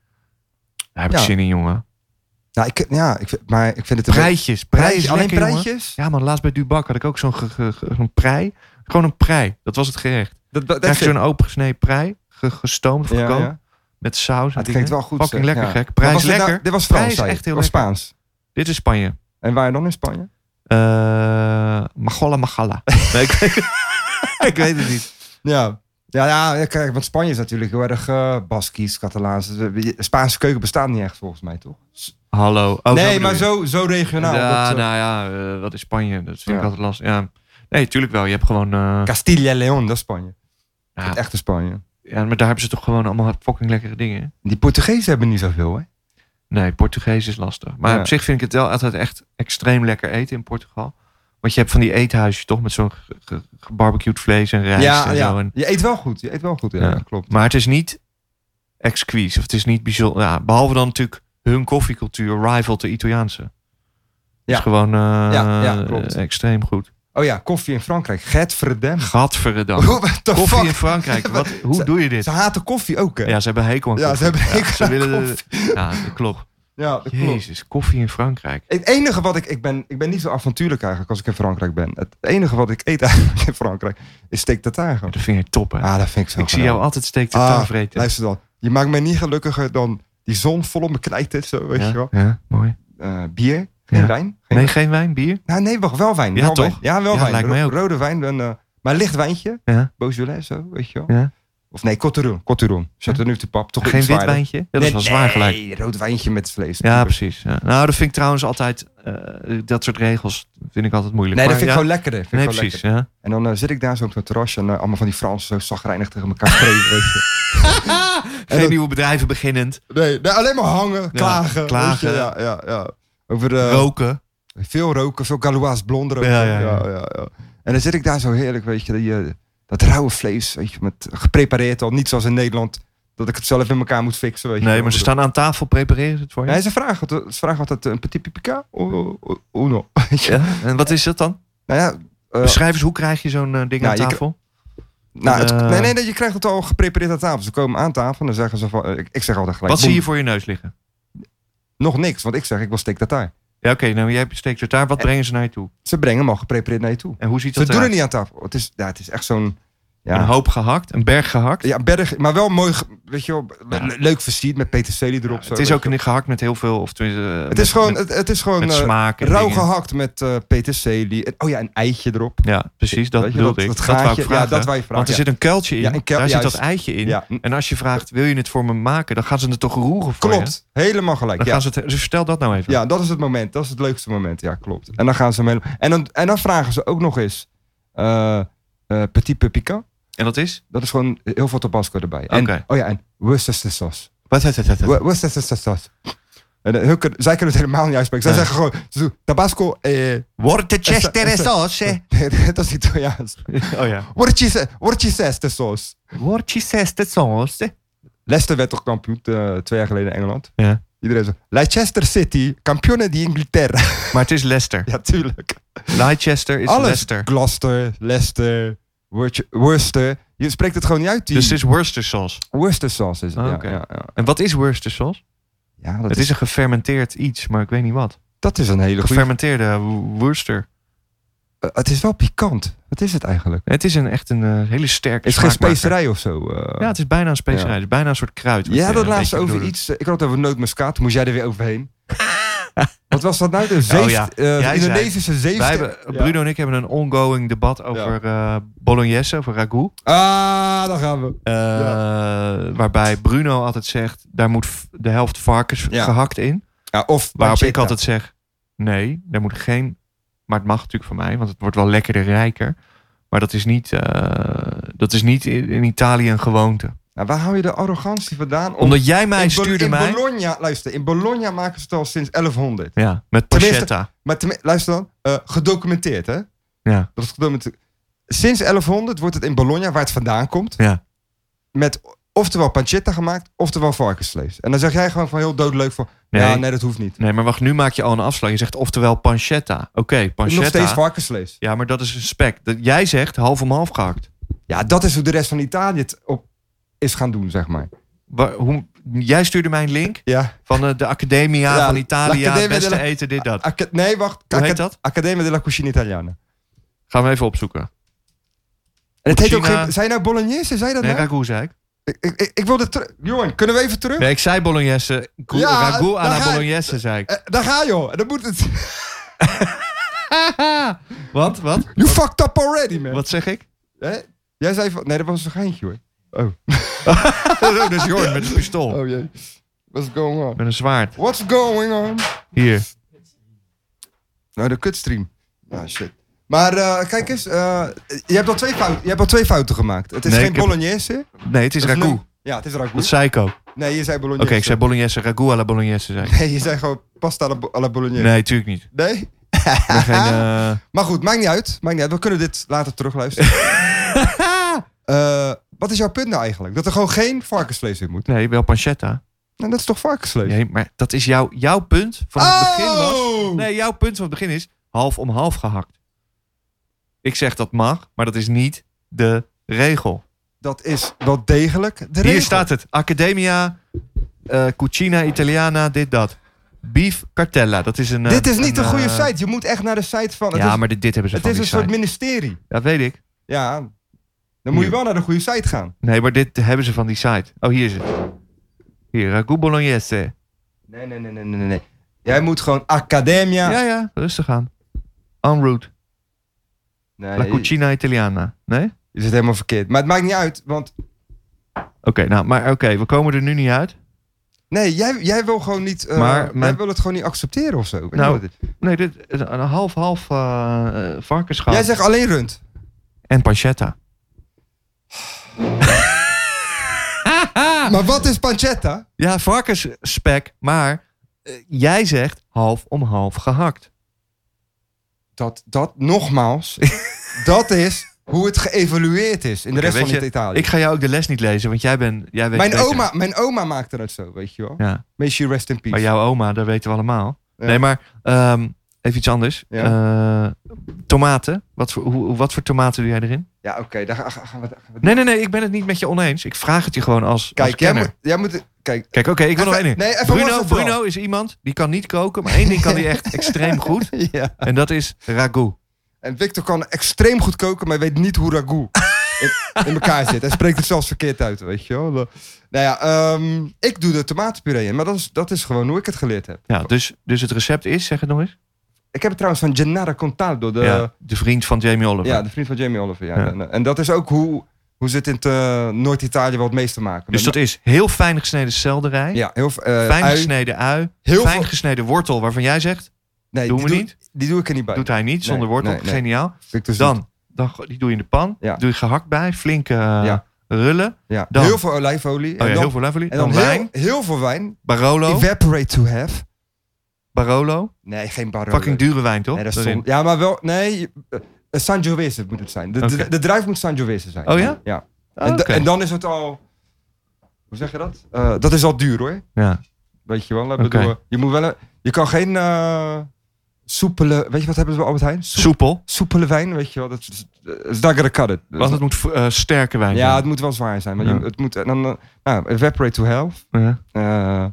S1: Daar heb ik
S2: Ja.
S1: zin in, jongen.
S2: Nou, ik, ja, ik, vind- maar ik vind het... een
S1: Prijtjes.
S2: beetje-
S1: Prijs is
S2: alleen
S1: lekker, jongen.
S2: prijtjes?
S1: Ja, man, laatst bij Dubak had ik ook zo'n ge- ge- ge- zo'n prei. Gewoon een prei. Dat was het gerecht.
S2: Dat, dat,
S1: Krijg je
S2: vind-
S1: zo'n opengesneden prei. ge- gestoomd of
S2: ja,
S1: gekookt.
S2: ja.
S1: Met saus. en
S2: Het klinkt
S1: dingen.
S2: wel goed.
S1: Fucking
S2: zeg.
S1: lekker,
S2: Ja.
S1: gek.
S2: Maar
S1: Prijs
S2: was dit
S1: lekker.
S2: nou- dit was
S1: Prijs
S2: Frans,
S1: is
S2: zei je.
S1: echt heel
S2: was
S1: lekker.
S2: Spaans.
S1: Dit is Spanje.
S2: En waar dan in Spanje?
S1: Eh Magolla Magalla. Nee, ik, ik weet het niet.
S2: Ja. Ja, ja, ja, kijk, want Spanje is natuurlijk heel erg eh Baskisch, Catalaans. De Spaanse keuken bestaat niet echt volgens mij, toch?
S1: Hallo. Oh, zo
S2: nee,
S1: bedoel
S2: maar
S1: je.
S2: zo, zo regionaal.
S1: ja,
S2: dat, eh,
S1: nou ja, eh, dat is Spanje. Dat vind
S2: Ja.
S1: ik altijd lastig. Ja. Nee, tuurlijk wel. Je hebt gewoon... eh,
S2: Castilla y León, dat is Spanje.
S1: Ja.
S2: Het echte Spanje.
S1: ja, maar daar hebben ze toch gewoon allemaal fucking lekkere dingen.
S2: Die Portugezen hebben niet zoveel, hè?
S1: Nee, Portugees is lastig. Maar
S2: Ja.
S1: op zich vind ik het wel altijd echt extreem lekker eten in Portugal. Want je hebt van die eethuisjes toch met zo'n ge- ge- gebarbecued vlees en rijst
S2: ja,
S1: en
S2: ja.
S1: zo. En,
S2: Je eet wel goed, je eet wel goed, ja,
S1: Ja.
S2: klopt.
S1: maar het is niet exquis of het is niet bijzonder. Ja, behalve dan natuurlijk hun koffiecultuur rivalt de Italiaanse.
S2: Ja.
S1: is gewoon eh,
S2: Ja, ja, klopt.
S1: extreem goed.
S2: Oh ja, koffie in Frankrijk. Gert verdempt.
S1: Gadverdamme.
S2: What the
S1: Koffie
S2: fuck?
S1: in Frankrijk. Wat, hoe
S2: Ze-
S1: doe je dit?
S2: Ze haten koffie ook, hè?
S1: Ja, ze hebben hekel aan
S2: Ja,
S1: koffie.
S2: ze hebben hekel
S1: ze
S2: aan
S1: willen de-
S2: koffie.
S1: Ja, dat klopt.
S2: Ja, dat klopt.
S1: Jezus, koffie in Frankrijk.
S2: Het enige wat ik... Ik ben, ik ben niet zo avontuurlijk eigenlijk als ik in Frankrijk ben. Het enige wat ik eet eigenlijk in Frankrijk is steak tartare.
S1: Dat vind je top, hè?
S2: Ah, dat vind ik zo
S1: ik zie
S2: geweldig.
S1: jou altijd steek te
S2: Ah,
S1: ah, vreten.
S2: Luister dan. Je maakt mij niet gelukkiger dan die zon vol op mijn knijt is. Zo, weet
S1: ja,
S2: je wel.
S1: ja, mooi.
S2: Eh, bier. Geen
S1: Ja.
S2: wijn. Geen
S1: Nee, geen wijn, bier?
S2: Nou, nee, wacht, wel wijn.
S1: Ja,
S2: wel
S1: toch?
S2: wijn. Ja, wel
S1: Ja,
S2: wijn.
S1: lijkt mij
S2: Ro-
S1: ook.
S2: Rode wijn, een, eh, maar licht wijntje.
S1: Ja.
S2: Beaujolais, zo, weet je wel.
S1: Ja.
S2: Of nee, Cotteron. Cotteron. Zet er nu te pap. Toch
S1: Geen
S2: iets
S1: wit
S2: zwaarder.
S1: wijntje? Ja, dat is wel
S2: nee,
S1: zwaar gelijk.
S2: Nee, rood wijntje met vlees.
S1: Ja, precies. Ja. Nou, dat vind ik trouwens altijd... eh, dat soort regels vind ik altijd moeilijk.
S2: Nee, dat
S1: Maar
S2: vind ik
S1: ja,
S2: gewoon lekkerder. Vind ik
S1: Nee,
S2: gewoon
S1: precies.
S2: lekkerder.
S1: Ja.
S2: En dan eh, zit ik daar zo op zo'n terrasje en eh, allemaal van die Fransen zo zagrijnig tegen elkaar schreeuwen, weet je.
S1: Geen
S2: Ah! dat-
S1: nieuwe bedrijven beginnend.
S2: Nee, nee, alleen maar hangen, klagen. weet
S1: klagen.
S2: je, ja, ja, ja. Over eh,
S1: Roken.
S2: Veel roken, veel Galois blond roken.
S1: Ja, ja, ja.
S2: En dan zit ik daar zo heerlijk, weet je, die, eh, dat rauwe vlees, weet je, met, geprepareerd al, niet zoals in Nederland, dat ik het zelf in elkaar moet fixen, weet je.
S1: Nee, maar ze staan aan tafel, prepareren ze het voor je.
S2: Nee, ze vragen, altijd- ze vragen altijd eh, een petit pipica, o- o- uno, weet je.
S1: Ja. En wat is dat dan?
S2: Nou ja, eh,
S1: Beschrijf eens, hoe krijg je zo'n eh, ding
S2: Nou, je
S1: aan tafel?
S2: nou, het-
S1: eh,
S2: nee, nee, nee, je krijgt het al geprepareerd aan tafel. Ze komen aan tafel en dan zeggen ze van, eh, ik, ik zeg altijd gelijk,
S1: Wat
S2: boem,
S1: zie je voor je neus liggen?
S2: nog niks, want ik zeg, ik wil steak tartaar.
S1: Ja, oké, nou jij steekt het daar. Wat brengen ze naar je toe?
S2: Ze brengen hem al geprepareerd naar je toe.
S1: En hoe ziet
S2: Ze
S1: dat
S2: doen
S1: eruit?
S2: het niet aan tafel. Het is, ja, het is echt zo'n... Ja,
S1: Een hoop gehakt, een berg gehakt.
S2: Ja, berg, maar wel mooi, ge- weet je wel, le- le- leuk versierd met peterselie erop. zo,
S1: het is
S2: weet
S1: ook
S2: je wel.
S1: een gehakt met heel veel... Of tenminste, eh,
S2: Het
S1: met-
S2: is gewoon,
S1: Met,
S2: het, het is gewoon
S1: met
S2: eh,
S1: smaak en
S2: rauw
S1: dingen.
S2: gehakt met eh peterselie. En- Oh ja, een eitje erop.
S1: Ja, precies, dat
S2: Weet je,
S1: bedoel
S2: dat-
S1: ik.
S2: dat
S1: Dat, wou ik
S2: gaatje, ja,
S1: vragen.
S2: dat wou je vragen,
S1: Want er
S2: ja.
S1: zit een kuiltje in,
S2: Ja, een kuil-
S1: daar zit
S2: juist.
S1: dat eitje in.
S2: Ja, n-
S1: En als je vraagt, wil je het voor me maken? Dan gaan ze het toch roeren voor je?
S2: klopt. Helemaal gelijk.
S1: Dan
S2: Ja.
S1: gaan ze het, dus vertel dat nou even.
S2: ja, dat is het moment. Dat is het leukste moment. Ja, klopt. En dan gaan ze hem helemaal... En dan, en dan vragen ze ook nog eens eh, eh, petit peu piquant.
S1: En dat is?
S2: Dat is gewoon heel veel tabasco erbij. En,
S1: Oké.
S2: oh ja, en Worcestershire sauce.
S1: Wat is het?
S2: Wo- Worcestershire sauce. En, eh, hun kunnen- zij kunnen het helemaal niet uitspreken. Zij
S1: Nee.
S2: zeggen gewoon ze doen tabasco... eh,
S1: Worcestershire sauce.
S2: dat is Italiaans.
S1: Oh ja.
S2: Worcester- Worcestershire sauce.
S1: Worcestershire sauce.
S2: Leicester werd toch kampioen eh, twee jaar geleden in Engeland?
S1: Ja.
S2: Iedereen zo. Leicester City, kampioenen di Inghilterra.
S1: Maar het is Leicester.
S2: ja, tuurlijk.
S1: Leicester is
S2: Alles.
S1: Leicester.
S2: Gloucester, Leicester, Worc- Worcester. Je spreekt het gewoon niet uit. Die
S1: Dus het is Worcester sauce.
S2: Worcester sauce is het.
S1: Ah,
S2: ja,
S1: oké.
S2: ja, ja.
S1: En wat is Worcester sauce?
S2: ja dat,
S1: Het
S2: is,
S1: is een gefermenteerd iets, maar ik weet niet wat.
S2: dat is een hele goede.
S1: Gefermenteerde Worcester.
S2: het is wel pikant. Wat is het eigenlijk?
S1: Het is een, echt een eh, hele sterke
S2: Is het geen
S1: smaakmaker.
S2: specerij of zo? eh?
S1: Ja, het is bijna een specerij.
S2: Ja.
S1: Het is bijna een soort kruid. wat
S2: Ja,
S1: je
S2: dat
S1: een
S2: laatste
S1: beetje
S2: over
S1: doordoet.
S2: iets. eh, Ik had het over nootmuskaat. Moest jij er weer overheen? Wat was dat nou? De zeeft,
S1: Oh, ja.
S2: eh,
S1: Jij zei-
S2: Indonesische zeeft.
S1: Wij hebben,
S2: Ja.
S1: Bruno en ik hebben een ongoing debat over eh, bolognese, over ragout.
S2: Ah, daar gaan we.
S1: Eh, Waarbij Bruno altijd zegt, daar moet v- de helft varkens
S2: Ja.
S1: gehakt in.
S2: Ja, of
S1: Waarop ik
S2: pancetta.
S1: altijd zeg, nee, daar moet geen... Maar het mag natuurlijk van mij, want het wordt wel lekkerder rijker. Maar dat is niet, eh, dat is niet in, in Italië een gewoonte.
S2: Nou, waar hou je de arrogantie vandaan? om-
S1: Omdat jij mij
S2: in Bo-
S1: stuurde
S2: in
S1: mij...
S2: Bologna, luister, in Bologna maken ze het al sinds 1100.
S1: Ja, met
S2: Tenminste-
S1: pancetta.
S2: Maar tenmi- luister dan, eh, gedocumenteerd hè?
S1: Ja.
S2: Dat is gedocumenteerd. Sinds 1100 wordt het in Bologna, waar het vandaan komt,
S1: Ja.
S2: met oftewel pancetta gemaakt, oftewel varkensvlees. En dan zeg jij gewoon van heel doodleuk van,
S1: Nee.
S2: ja, nee, dat hoeft niet.
S1: Nee, maar wacht, nu maak je al een afslag. Je zegt oftewel pancetta. Oké, pancetta.
S2: Nog steeds varkensvlees.
S1: Ja, maar dat is een spek. Dat- Jij zegt half om half gehakt.
S2: Ja, dat is hoe de rest van Italië het op is gaan doen, zeg maar.
S1: Wa- hoe, jij stuurde mij een link
S2: Ja.
S1: van eh, de Accademia
S2: Ja,
S1: van Italië.
S2: l'Accademia
S1: Het beste
S2: della-
S1: eten, dit, dat.
S2: Aca- nee, wacht.
S1: Hoe heet
S2: Aca-
S1: dat?
S2: Accademia della Cucina Italiana.
S1: Gaan we even opzoeken.
S2: En het heet ook
S1: Cucina-
S2: geen... Zijn nou Bolognese? Zei je dat
S1: Nee,
S2: nou?
S1: ragout zei ik.
S2: Ik, ik, ik- ik wilde terug. Johan, kunnen we even terug?
S1: Nee, ik zei bolognese. Gu-
S2: Ja,
S1: ragout à
S2: daar
S1: la
S2: ga je.
S1: bolognese, zei ik.
S2: Eh, daar ga je, joh. Dan moet het.
S1: Wat? Wat?
S2: You fucked up already, man.
S1: Wat zeg ik?
S2: Hè? Jij zei van. Nee, dat was een geintje, hoor.
S1: Oh, dat is Jorn met een pistool.
S2: Oh jee. What's going on?
S1: Met een zwaard.
S2: What's going on?
S1: Hier.
S2: Nou, de kutstream. Ah, shit. Maar eh, kijk eens, eh, je, hebt al twee fouten, je hebt al twee fouten gemaakt. Het is
S1: Nee,
S2: geen
S1: ik heb-
S2: Bolognese.
S1: Nee, het is
S2: Dat
S1: ragout.
S2: nu- Ja, het is
S1: Dat
S2: ragout.
S1: zei ik ook. Oké,
S2: Nee, je zei Bolognese.
S1: ik zei bolognese. Ragout à la bolognese, zei ik.
S2: Nee, je zei gewoon pasta alla, bo- alla Bolognese.
S1: Nee, tuurlijk niet.
S2: Nee?
S1: Ik ben geen, eh,
S2: Maar goed, maakt niet uit. Maakt niet uit. We kunnen dit later terugluisteren. Eh wat is jouw punt nou eigenlijk? Dat er gewoon geen varkensvlees in moet.
S1: Nee, wel pancetta.
S2: Nou, dat is toch varkensvlees?
S1: Nee, maar dat is jouw, jouw punt van het begin was...
S2: Oh!
S1: Nee, jouw punt van het begin is half om half gehakt. Ik zeg dat mag, maar dat is niet de regel.
S2: Dat is wel degelijk de
S1: Hier
S2: regel.
S1: staat het. Academia, eh Cucina Italiana, dit, dat. Beef Cartella. Dat is een. eh,
S2: Dit is niet een goede
S1: eh,
S2: site. Je moet echt naar de site van... Het
S1: Ja,
S2: is,
S1: maar dit, dit hebben ze
S2: het
S1: van
S2: is een
S1: die
S2: soort
S1: site.
S2: ministerie.
S1: Dat weet ik.
S2: Ja, dan moet je
S1: Hier.
S2: wel naar de goede site gaan.
S1: Nee, maar dit hebben ze van die site. Oh, hier is het. Hier, ragu bolognese.
S2: Nee, nee, nee, nee, nee. nee. Jij moet gewoon Academia...
S1: Ja. ja, rustig aan. En route.
S2: Nee,
S1: La cucina italiana. Nee? Oké,
S2: je zit helemaal verkeerd. Maar het maakt niet uit, want...
S1: nou, maar oké, we komen er nu niet uit.
S2: Nee, jij, jij wil gewoon niet... eh,
S1: Maar
S2: Jij
S1: mijn-
S2: wil het gewoon niet accepteren of zo. Weet je
S1: Nou,
S2: wat het is?
S1: Nee, dit is een half-half eh eh, varkenschaal.
S2: jij zegt alleen rund.
S1: En pancetta.
S2: Maar wat is pancetta?
S1: Ja, varkensspek, maar eh, jij zegt half om half gehakt.
S2: Dat, dat nogmaals, dat is hoe het geëvolueerd is in de
S1: Oké,
S2: rest
S1: weet
S2: van
S1: je,
S2: Italië.
S1: Ik ga jou ook de les niet lezen, want jij, bent, jij weet
S2: mijn,
S1: beter.
S2: oma, mijn oma maakte dat zo, weet je wel.
S1: Oh Ja,
S2: May she rest in
S1: maar
S2: peace.
S1: jouw oma, dat weten we allemaal.
S2: Ja.
S1: Nee, maar ehm, even iets anders.
S2: Ja.
S1: Eh, tomaten. Wat voor, hoe, wat voor tomaten doe jij erin?
S2: Ja, oké, daar gaan gaan- gaan we... gaan we-
S1: Nee, nee, nee, ik ben het niet met je oneens. Ik vraag het je gewoon als, als
S2: Kijk, jij
S1: kenner.
S2: moet, jij moet... Kijk,
S1: Kijk, oké, ik wil nog
S2: Even-
S1: één ding.
S2: nee, even
S1: Bruno,
S2: wassen vooral.
S1: Bruno is iemand die kan niet koken, maar één ding kan hij echt extreem goed.
S2: ja.
S1: En dat is ragout.
S2: En Victor kan extreem goed koken, maar weet niet hoe ragout in, in elkaar zit. Hij spreekt het zelfs verkeerd uit, weet je wel. Nou ja, ehm, ik doe de tomatenpuree in, maar dat is, dat is gewoon hoe ik het geleerd heb.
S1: Ja, dus, dus het recept is, zeg het nog eens.
S2: Ik heb het trouwens van Gennaro Contaldo, de...
S1: ja, de vriend van Jamie Oliver.
S2: Ja, de vriend van Jamie Oliver. Ja.
S1: Ja.
S2: En, en dat is ook hoe, hoe ze het in het, eh, Noord-Italië wel het meest te maken.
S1: Dus dat is heel fijn gesneden selderij.
S2: ja, heel, veel, eh,
S1: Fijn
S2: ui.
S1: gesneden ui.
S2: Heel
S1: fijn
S2: veel-
S1: gesneden wortel, waarvan jij zegt,
S2: Nee,
S1: doen
S2: die
S1: we
S2: doe-
S1: niet.
S2: Die doe ik er niet bij.
S1: doet hij niet zonder wortel.
S2: nee, nee.
S1: Geniaal.
S2: Vind ik dus niet.
S1: Dan, dan, go- die doe je in de pan.
S2: Ja.
S1: Doe je gehakt bij. Flinke eh,
S2: Ja.
S1: rullen.
S2: ja.
S1: dan-
S2: heel veel olijfolie.
S1: Oh ja,
S2: en dan,
S1: heel veel leveling.
S2: en
S1: Dan,
S2: dan
S1: wijn.
S2: heel, heel veel wijn.
S1: Barolo.
S2: Evaporate to have.
S1: Barolo.
S2: Nee, geen barolo.
S1: Fucking dure wijn, toch?
S2: Nee, dat is
S1: Daarin.
S2: zon- Ja, maar wel... Nee, je- eh, eh, Sangiovese moet het zijn. De, de,
S1: Oké.
S2: de druif moet Sangiovese zijn.
S1: Oh ja?
S2: Ja.
S1: Ah,
S2: en, da-
S1: oké.
S2: en dan is het al... Hoe zeg je dat? Eh, dat is al duur hoor.
S1: Ja.
S2: Weet je wel, ik bedoel,
S1: Oké.
S2: je moet wel een- je kan geen eh soepele, weet je wat hebben ze bij Albert Heijn? Soep-
S1: Soepel.
S2: soepele wijn, weet je wel, dat is, dat is daggere kadde.
S1: Want het moet eh, sterke wijn
S2: Ja, het
S1: zijn.
S2: moet wel zwaar zijn, maar
S1: Ja.
S2: je, het moet, en dan, eh, nou, evaporate to health.
S1: Ja.
S2: Eh,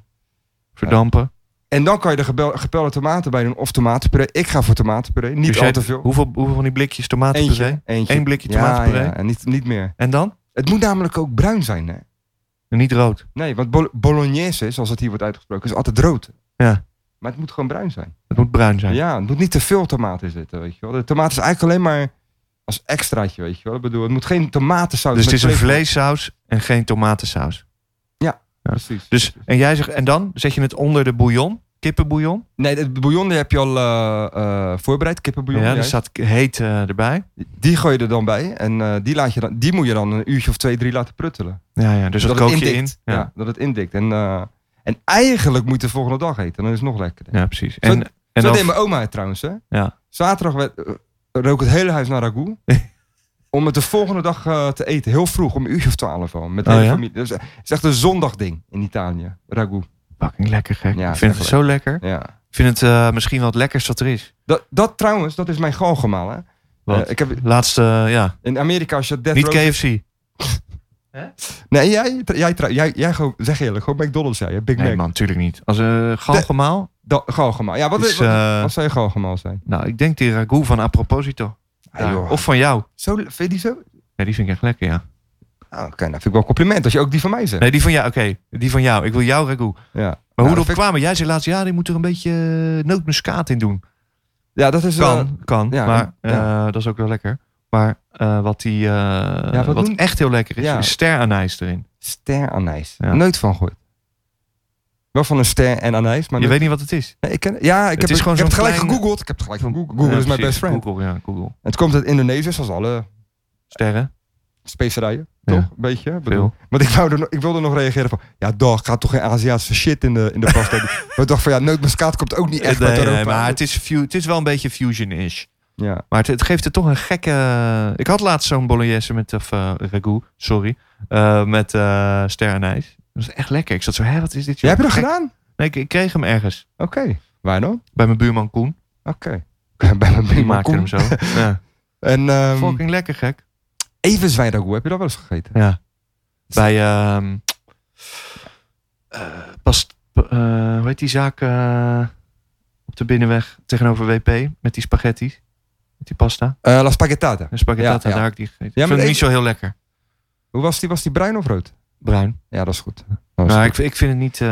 S1: Verdampen.
S2: en dan kan je er gebel, gepelde tomaten bij doen of tomatenpuree. Ik ga voor tomatenpuree, niet
S1: Dus
S2: al
S1: jij-
S2: te veel.
S1: Hoeveel, hoeveel van die blikjes tomatenpuree?
S2: eentje.
S1: Eén blikje
S2: Ja,
S1: tomatenpuree.
S2: Ja, en niet, niet meer.
S1: En dan?
S2: Het moet namelijk ook bruin zijn, hè?
S1: En niet rood.
S2: Nee, want bol- bolognese, zoals het hier wordt uitgesproken, is altijd rood.
S1: Ja.
S2: Maar het moet gewoon bruin zijn.
S1: Het moet bruin zijn.
S2: Ja, het moet niet te veel tomaten zitten, weet je wel. De tomaat is eigenlijk alleen maar als extraatje, weet je wel. Ik bedoel, het moet geen tomatensaus
S1: Dus het
S2: met
S1: is een vleessaus en geen tomatensaus.
S2: Precies.
S1: Dus, en jij zegt, en dan zet je het onder de bouillon, kippenbouillon.
S2: Nee, de bouillon die heb je al eh, eh, voorbereid, kippenbouillon.
S1: ja,
S2: die
S1: er staat heet eh, erbij.
S2: jij- Die gooi je er dan bij en eh, die, laat je dan, die moet je dan een uurtje of twee, drie laten pruttelen.
S1: Ja, ja, dus dat,
S2: het
S1: kook je in.
S2: indikt.
S1: Ja,
S2: Ja.
S1: ja.
S2: dat het indikt. En, eh, en eigenlijk moet je de volgende dag eten, dan is het nog lekkerder.
S1: precies.
S2: Zo-
S1: En, en
S2: Zo
S1: dan,
S2: deed mijn oma het trouwens, hè.
S1: ja.
S2: Zaterdag werd, eh, rook het hele huis naar ragout. om het de volgende dag eh, te eten. Heel vroeg, om een uurtje of twaalf al. Met de
S1: Oh,
S2: hele
S1: ja?
S2: familie. Dus, eh, het is echt een zondagding in Italië. Ragout.
S1: Fucking lekker gek.
S2: Ja,
S1: ik vind het
S2: echt
S1: zo lekker.
S2: Ja.
S1: Ik vind het eh, misschien wel het lekkerst wat er is.
S2: Dat, dat trouwens, dat is mijn galgemaal. Hè?
S1: Wat?
S2: Eh, ik heb,
S1: Laatste, ja.
S2: in Amerika als je Death
S1: Niet
S2: Row-
S1: KFC.
S2: Nee, jij, tra- jij, tra- jij, jij gewoon, zeg eerlijk, gewoon McDonald's zei je. Big
S1: Nee
S2: Mac.
S1: man, natuurlijk niet. Als een galgemaal.
S2: Da- galgemaal. Ja, wat,
S1: Is,
S2: is, wat,
S1: eh,
S2: wat zou je galgemaal zijn?
S1: Nou, ik denk die ragout van Aproposito.
S2: Ah, joh.
S1: Of van jou.
S2: Zo, vind je die zo?
S1: Nee, die vind ik echt lekker, ja.
S2: Ah, Oké, nou vind ik wel een compliment als je ook die van mij zegt.
S1: Nee, die van jou. Oké, die van jou. Ik wil jouw ragout.
S2: Ja.
S1: Maar
S2: Nou,
S1: hoe erop
S2: dat vind ik-
S1: kwamen? Jij zei laatst, ja, die moet er een beetje eh, nootmuskaat in doen.
S2: Ja, dat is eh, wel.
S1: Kan, kan.
S2: ja,
S1: maar
S2: ja.
S1: eh, dat is ook wel lekker. Maar eh, wat, die, eh,
S2: wat
S1: wat,
S2: doen-
S1: echt heel lekker is,
S2: Ja.
S1: is steranijs erin.
S2: Steranijs.
S1: Ja.
S2: Nooit van gehoord. Wel van een ster en anijs, maar
S1: je
S2: nooit-
S1: weet niet wat het is.
S2: Nee, ik ken, ja, ik heb
S1: is
S2: het,
S1: gewoon
S2: ik heb het
S1: zo'n
S2: gelijk
S1: klein-
S2: gegoogeld. Ik heb het gelijk gegoogeld. Google
S1: Ja,
S2: is mijn
S1: precies.
S2: best friend.
S1: Google, ja, Google.
S2: Het komt uit Indonesië, zoals alle
S1: Sterren.
S2: specerijen.
S1: Ja.
S2: Toch? Een beetje. Ik Bedoel.
S1: Veel.
S2: Want ik, wou er, nog- ik wilde nog reageren van... Ja, dag, gaat toch geen Aziatische shit in de, in de pasta doen? maar ik dacht van, ja, nootmuskaat komt ook niet echt
S1: Eh, nee,
S2: uit Europa.
S1: nee, maar het is, fu- het is wel een beetje fusion-ish.
S2: ja.
S1: Maar het, het geeft er toch een gekke... Ik had laatst zo'n bolognese met... Of eh, ragout, sorry. eh, met eh steranijs. Dat was echt lekker. Ik zat zo, hè, wat is dit?
S2: Jij
S1: joh?
S2: hebt dat
S1: Gek.
S2: gedaan?
S1: Nee, ik, ik kreeg hem ergens.
S2: Oké. Waar dan?
S1: Bij mijn buurman Koen.
S2: Oké. Bij mijn
S1: Die
S2: buurman
S1: maakte
S2: Koen.
S1: hem zo. ja.
S2: En ehm
S1: Fucking lekker, gek.
S2: even zwijragoe, heb je dat wel eens gegeten?
S1: Ja. Bij ehm eh, past, eh, hoe heet die zaak eh, op de binnenweg tegenover WP? Met die spaghetti. Met die pasta.
S2: Eh, La Spaghettata.
S1: En spaghetti,
S2: Ja, ja.
S1: daar heb ik die gegeten.
S2: Ja,
S1: ik
S2: maar
S1: vind het
S2: ik-
S1: niet zo heel lekker.
S2: Hoe was die? Was die bruin of rood?
S1: Bruin.
S2: Ja, dat is goed. Dat is
S1: Maar
S2: goed.
S1: ik, ik vind het niet... eh,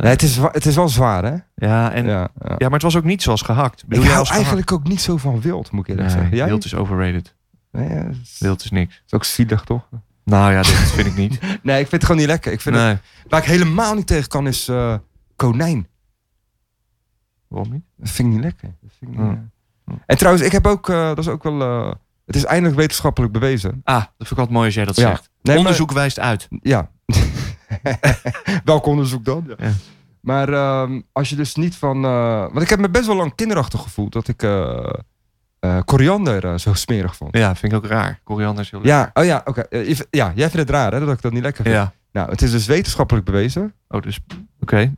S2: Nee, het, is, wa- het is wel zwaar, hè?
S1: ja, en, ja.
S2: ja, ja.
S1: maar het was ook niet zoals gehakt. Bedoel
S2: Ik
S1: jij
S2: hou
S1: als gehakt?
S2: eigenlijk ook niet zo van wild, moet ik eerlijk
S1: Nee,
S2: zeggen. Jij?
S1: wild is overrated.
S2: Nee, ja, het is-
S1: Wild is niks.
S2: is ook zielig, toch?
S1: Nou ja, dat vind ik niet.
S2: Nee, ik vind het gewoon niet lekker. Ik vind
S1: nee.
S2: het, waar ik helemaal niet tegen kan is eh, konijn.
S1: Waarom niet?
S2: Dat vind ik niet lekker. Dat vind ik niet,
S1: Ja.
S2: eh. En trouwens, ik heb ook, eh, dat is ook wel, eh, het is eindelijk wetenschappelijk bewezen.
S1: Ah, dat vind ik altijd mooi als jij dat
S2: Ja.
S1: zegt.
S2: Nee, maar-
S1: Onderzoek wijst uit.
S2: Ja. Welk onderzoek dan? Ja.
S1: Ja.
S2: Maar ehm, als je dus niet van. eh, want ik heb me best wel lang kinderachtig gevoeld dat ik eh, eh, koriander eh, zo smerig vond.
S1: Ja, vind ik ook raar. Koriander is heel leuk.
S2: Ja, oh ja, oké. Eh, je v- ja, jij vindt het raar hè, dat ik dat niet lekker vind.
S1: Ja.
S2: Nou, het is dus wetenschappelijk bewezen.
S1: Oh, dus... Oké.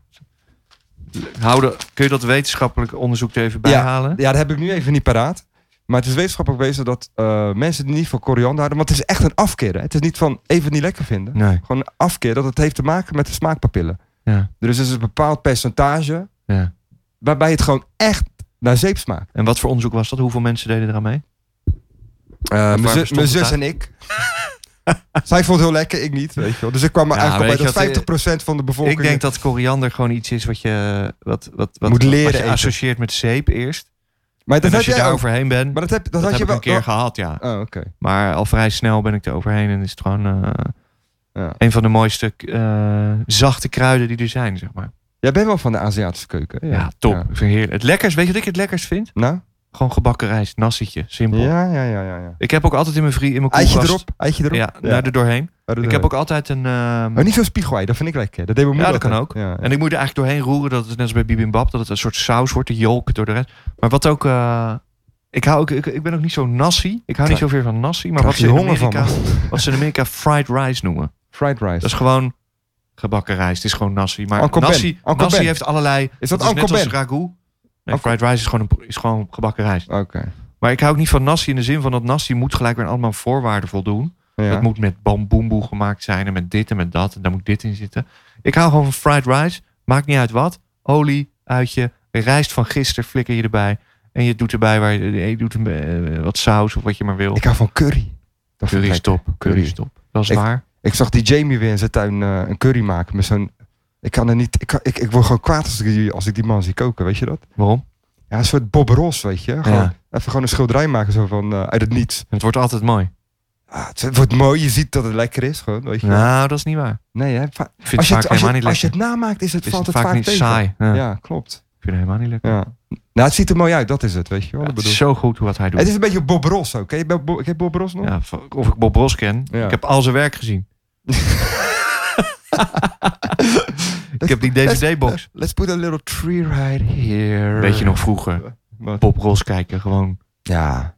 S1: Houden, kun je dat wetenschappelijk onderzoek er even bij halen?
S2: Ja, dat heb ik nu even niet paraat. Maar het is wetenschappelijk bewezen dat eh, mensen die niet van koriander houden... Want het is echt een afkeer. Hè? Het is niet van even niet lekker vinden.
S1: Nee.
S2: Gewoon een afkeer dat het heeft te maken met de smaakpapillen.
S1: Ja.
S2: Dus het is een bepaald percentage
S1: Ja.
S2: waarbij het gewoon echt naar zeep smaakt.
S1: En wat voor onderzoek was dat? Hoeveel mensen deden eraan mee?
S2: Eh, mijn
S1: waar
S2: zu-
S1: bestond
S2: mijn
S1: het
S2: zus
S1: uit?
S2: en ik. Zij vond het heel lekker, ik niet. Weet je wel. Dus ik kwam er
S1: Ja,
S2: eigenlijk
S1: weet
S2: al bij
S1: je eh,
S2: dat 50% van de bevolking...
S1: Ik denk dat koriander gewoon iets is wat je, wat, wat, wat,
S2: Moet leren
S1: wat je
S2: eten.
S1: associeert met zeep eerst.
S2: maar dat
S1: en
S2: heb
S1: als je
S2: jij
S1: daar
S2: ook.
S1: overheen bent,
S2: Maar dat, heb, dat,
S1: dat,
S2: had
S1: heb
S2: je
S1: ik
S2: wel...
S1: een keer gehad, ja.
S2: Oh, oké.
S1: Maar al vrij snel ben ik er overheen en is het gewoon eh,
S2: Ja.
S1: een van de mooiste eh, zachte kruiden die er zijn, zeg maar.
S2: Jij bent wel van de Aziatische keuken.
S1: Ja,
S2: hè?
S1: top.
S2: Ja.
S1: Ik vind het heerlijk. Het lekkers, weet je wat ik het lekkers vind?
S2: Nou?
S1: Gewoon gebakken rijst, nassetje, simpel.
S2: Ja, ja, ja, ja. ja.
S1: Ik heb ook altijd in mijn vriend in mijn
S2: Eitje
S1: koelkast-
S2: erop, eitje erop.
S1: Ja, daar er doorheen.
S2: Oh, dat-
S1: Ik heb ook altijd een... ehm,
S2: Oh, niet zo spiegelei, dat vind ik lekker. Dat deed mijn
S1: Ja,
S2: moeder
S1: dat kan
S2: altijd. Ja, ja.
S1: En ik moet er eigenlijk doorheen roeren dat het net als bij bibimbap, dat het een soort saus wordt, de jolk door de rest. Maar wat ook, eh, ik, hou ook ik, ik ben ook niet zo nassi. Ik hou niet
S2: Krijg-
S1: zoveel van nassi, maar
S2: Krijg
S1: wat ze, in
S2: je honger van
S1: Amerika, wat ze in Amerika fried rice noemen.
S2: Fried rice.
S1: Dat is gewoon gebakken rijst, het is gewoon nassi. Maar
S2: Uncle Ben,
S1: nassi,
S2: Uncle
S1: nassi
S2: Ben.
S1: heeft allerlei,
S2: is
S1: dat
S2: dat
S1: is net
S2: Uncle
S1: als
S2: Ben?
S1: ragout. Nee,
S2: Uncle-
S1: fried rice is gewoon, een, is gewoon gebakken rijst.
S2: Oké.
S1: Maar ik hou ook niet van nassi in de zin van dat nassi moet gelijk weer aan allemaal voorwaarden voldoen.
S2: Ja.
S1: Dat moet met bamboemboe gemaakt zijn en met dit en met dat. En daar moet dit in zitten. Ik hou gewoon van fried rice. Maakt niet uit wat. Olie, uitje, rijst van gisteren flikker je erbij. En je doet erbij waar je, je doet een, eh, wat saus of wat je maar wil.
S2: Ik hou van curry. Dat vind
S1: curry
S2: ik
S1: is
S2: lekker.
S1: top. Curry is top. Dat is
S2: Ik-
S1: waar.
S2: Ik zag die Jamie weer in zijn tuin eh, een curry maken met zo'n... Ik kan er niet... Ik, kan- ik, ik word gewoon kwaad als ik, die, als ik die man zie koken, weet je dat?
S1: Waarom?
S2: Ja, een soort Bob Ross, weet je. Gewoon,
S1: Ja.
S2: Even gewoon een schilderij maken zo van eh, uit het niets.
S1: Het wordt altijd mooi.
S2: Ah, het, het wordt mooi, je ziet dat het lekker is gewoon, weet je.
S1: Nou, dat is niet waar.
S2: Nee, hè? va-
S1: Ik vind
S2: als, je
S1: het
S2: het,
S1: vaak
S2: als, je,
S1: helemaal niet
S2: als je
S1: lekker.
S2: het namaakt is het,
S1: Is
S2: valt
S1: het
S2: het
S1: vaak, niet
S2: tegen.
S1: saai. Ja.
S2: Ja, klopt.
S1: Ik vind het helemaal niet lekker.
S2: Ja. Nou, het ziet er mooi uit, dat is het, weet je wel.
S1: Ja,
S2: dat
S1: het
S2: bedoel
S1: is
S2: ik.
S1: zo goed wat hij doet.
S2: Het is een beetje Bob Ross ook. Ken je Bob, ken je Bob Ross nog?
S1: Ja, v- of ik Bob Ross ken.
S2: Ja.
S1: Ik heb al zijn werk gezien. ik heb die
S2: dat-
S1: DVD-box.
S2: Eh, Let's put a little tree right here.
S1: Weet je nog vroeger?
S2: Wat?
S1: Bob Ross kijken, gewoon
S2: Ja.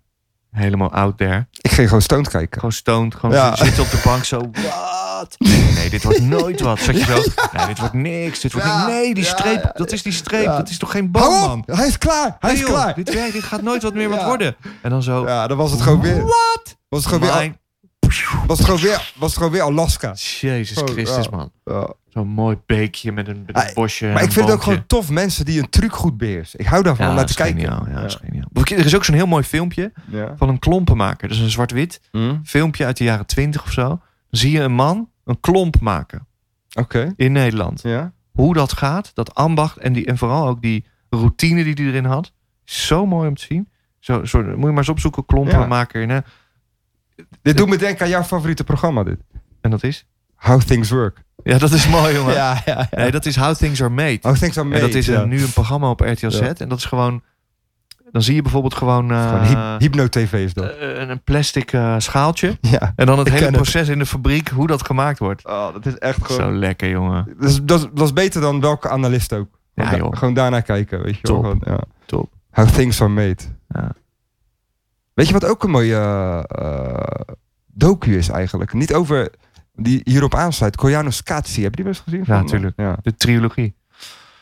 S1: helemaal out there.
S2: Ik ging gewoon stoned kijken.
S1: Gewoon stoned, gewoon
S2: Ja.
S1: zitten op de bank zo. Wat? Nee, dit wordt nooit wat. Zat je zo? Nee, dit wordt niks. Dit wordt
S2: Ja,
S1: niet- Nee, die
S2: ja,
S1: streep,
S2: ja.
S1: dat is die streep.
S2: Ja.
S1: Dat is toch geen
S2: Hou
S1: bal,
S2: op!
S1: man?
S2: Hij is klaar!
S1: Nee,
S2: Hij is
S1: joh,
S2: klaar!
S1: Dit, werkt, dit gaat nooit wat meer wat
S2: Ja.
S1: worden. En dan zo.
S2: Ja, dan was het gewoon weer.
S1: What?
S2: Was het gewoon weer,
S1: Mijn-
S2: was het gewoon weer, was het gewoon weer Alaska.
S1: Jezus
S2: Oh,
S1: Christus,
S2: ja.
S1: man.
S2: Ja.
S1: Zo'n mooi beekje met een, met een
S2: Ah,
S1: bosje. en
S2: Maar ik
S1: een
S2: vind het ook
S1: boompje.
S2: gewoon tof mensen die een truc goed beheersen. Ik hou daarvan
S1: Ja,
S2: om naar
S1: dat
S2: te
S1: is
S2: kijken.
S1: geniaal. Ja, dat is geniaal. Er is ook zo'n heel mooi filmpje
S2: Ja.
S1: van een klompenmaker. Dat is een zwart-wit.
S2: Mm.
S1: filmpje uit de jaren 20 of zo. Dan zie je een man een klomp maken
S2: Oké.
S1: in Nederland.
S2: Ja.
S1: Hoe dat gaat, dat ambacht en, die, en vooral ook die routine die hij erin had. Zo mooi om te zien. Zo, zo, moet je maar eens opzoeken, klompen
S2: Ja.
S1: maken. in, hè.
S2: Dit doet me denken aan jouw favoriete programma dit.
S1: En dat is?
S2: How Things Work.
S1: Ja, dat is mooi, jongen.
S2: Ja, ja, ja.
S1: Nee, dat is How Things Are Made.
S2: How Things Are Made.
S1: en dat is een-
S2: ja.
S1: nu een programma op RTL Z.
S2: Ja.
S1: En dat is gewoon... Dan zie je bijvoorbeeld gewoon, eh,
S2: Gewoon hyp- hypno-tv is dat.
S1: eh, een- een plastic eh, schaaltje.
S2: ja.
S1: En dan het
S2: Ik
S1: hele
S2: ken het.
S1: proces in de fabriek, hoe dat gemaakt wordt.
S2: Oh, dat is echt
S1: Zo lekker, jongen.
S2: Dat is, dat, is- dat is beter dan welke analist ook. Gewoon,
S1: Ja,
S2: da-
S1: joh.
S2: gewoon daarna kijken, weet je wel.
S1: Top.
S2: Gewoon, ja.
S1: Top.
S2: How things are made.
S1: Ja.
S2: Weet je wat ook een mooie eh, eh, docu is eigenlijk? Niet over die hierop aansluit. Koyanos Katsi, heb je die wel eens gezien?
S1: Ja, tuurlijk.
S2: Ja.
S1: De trilogie.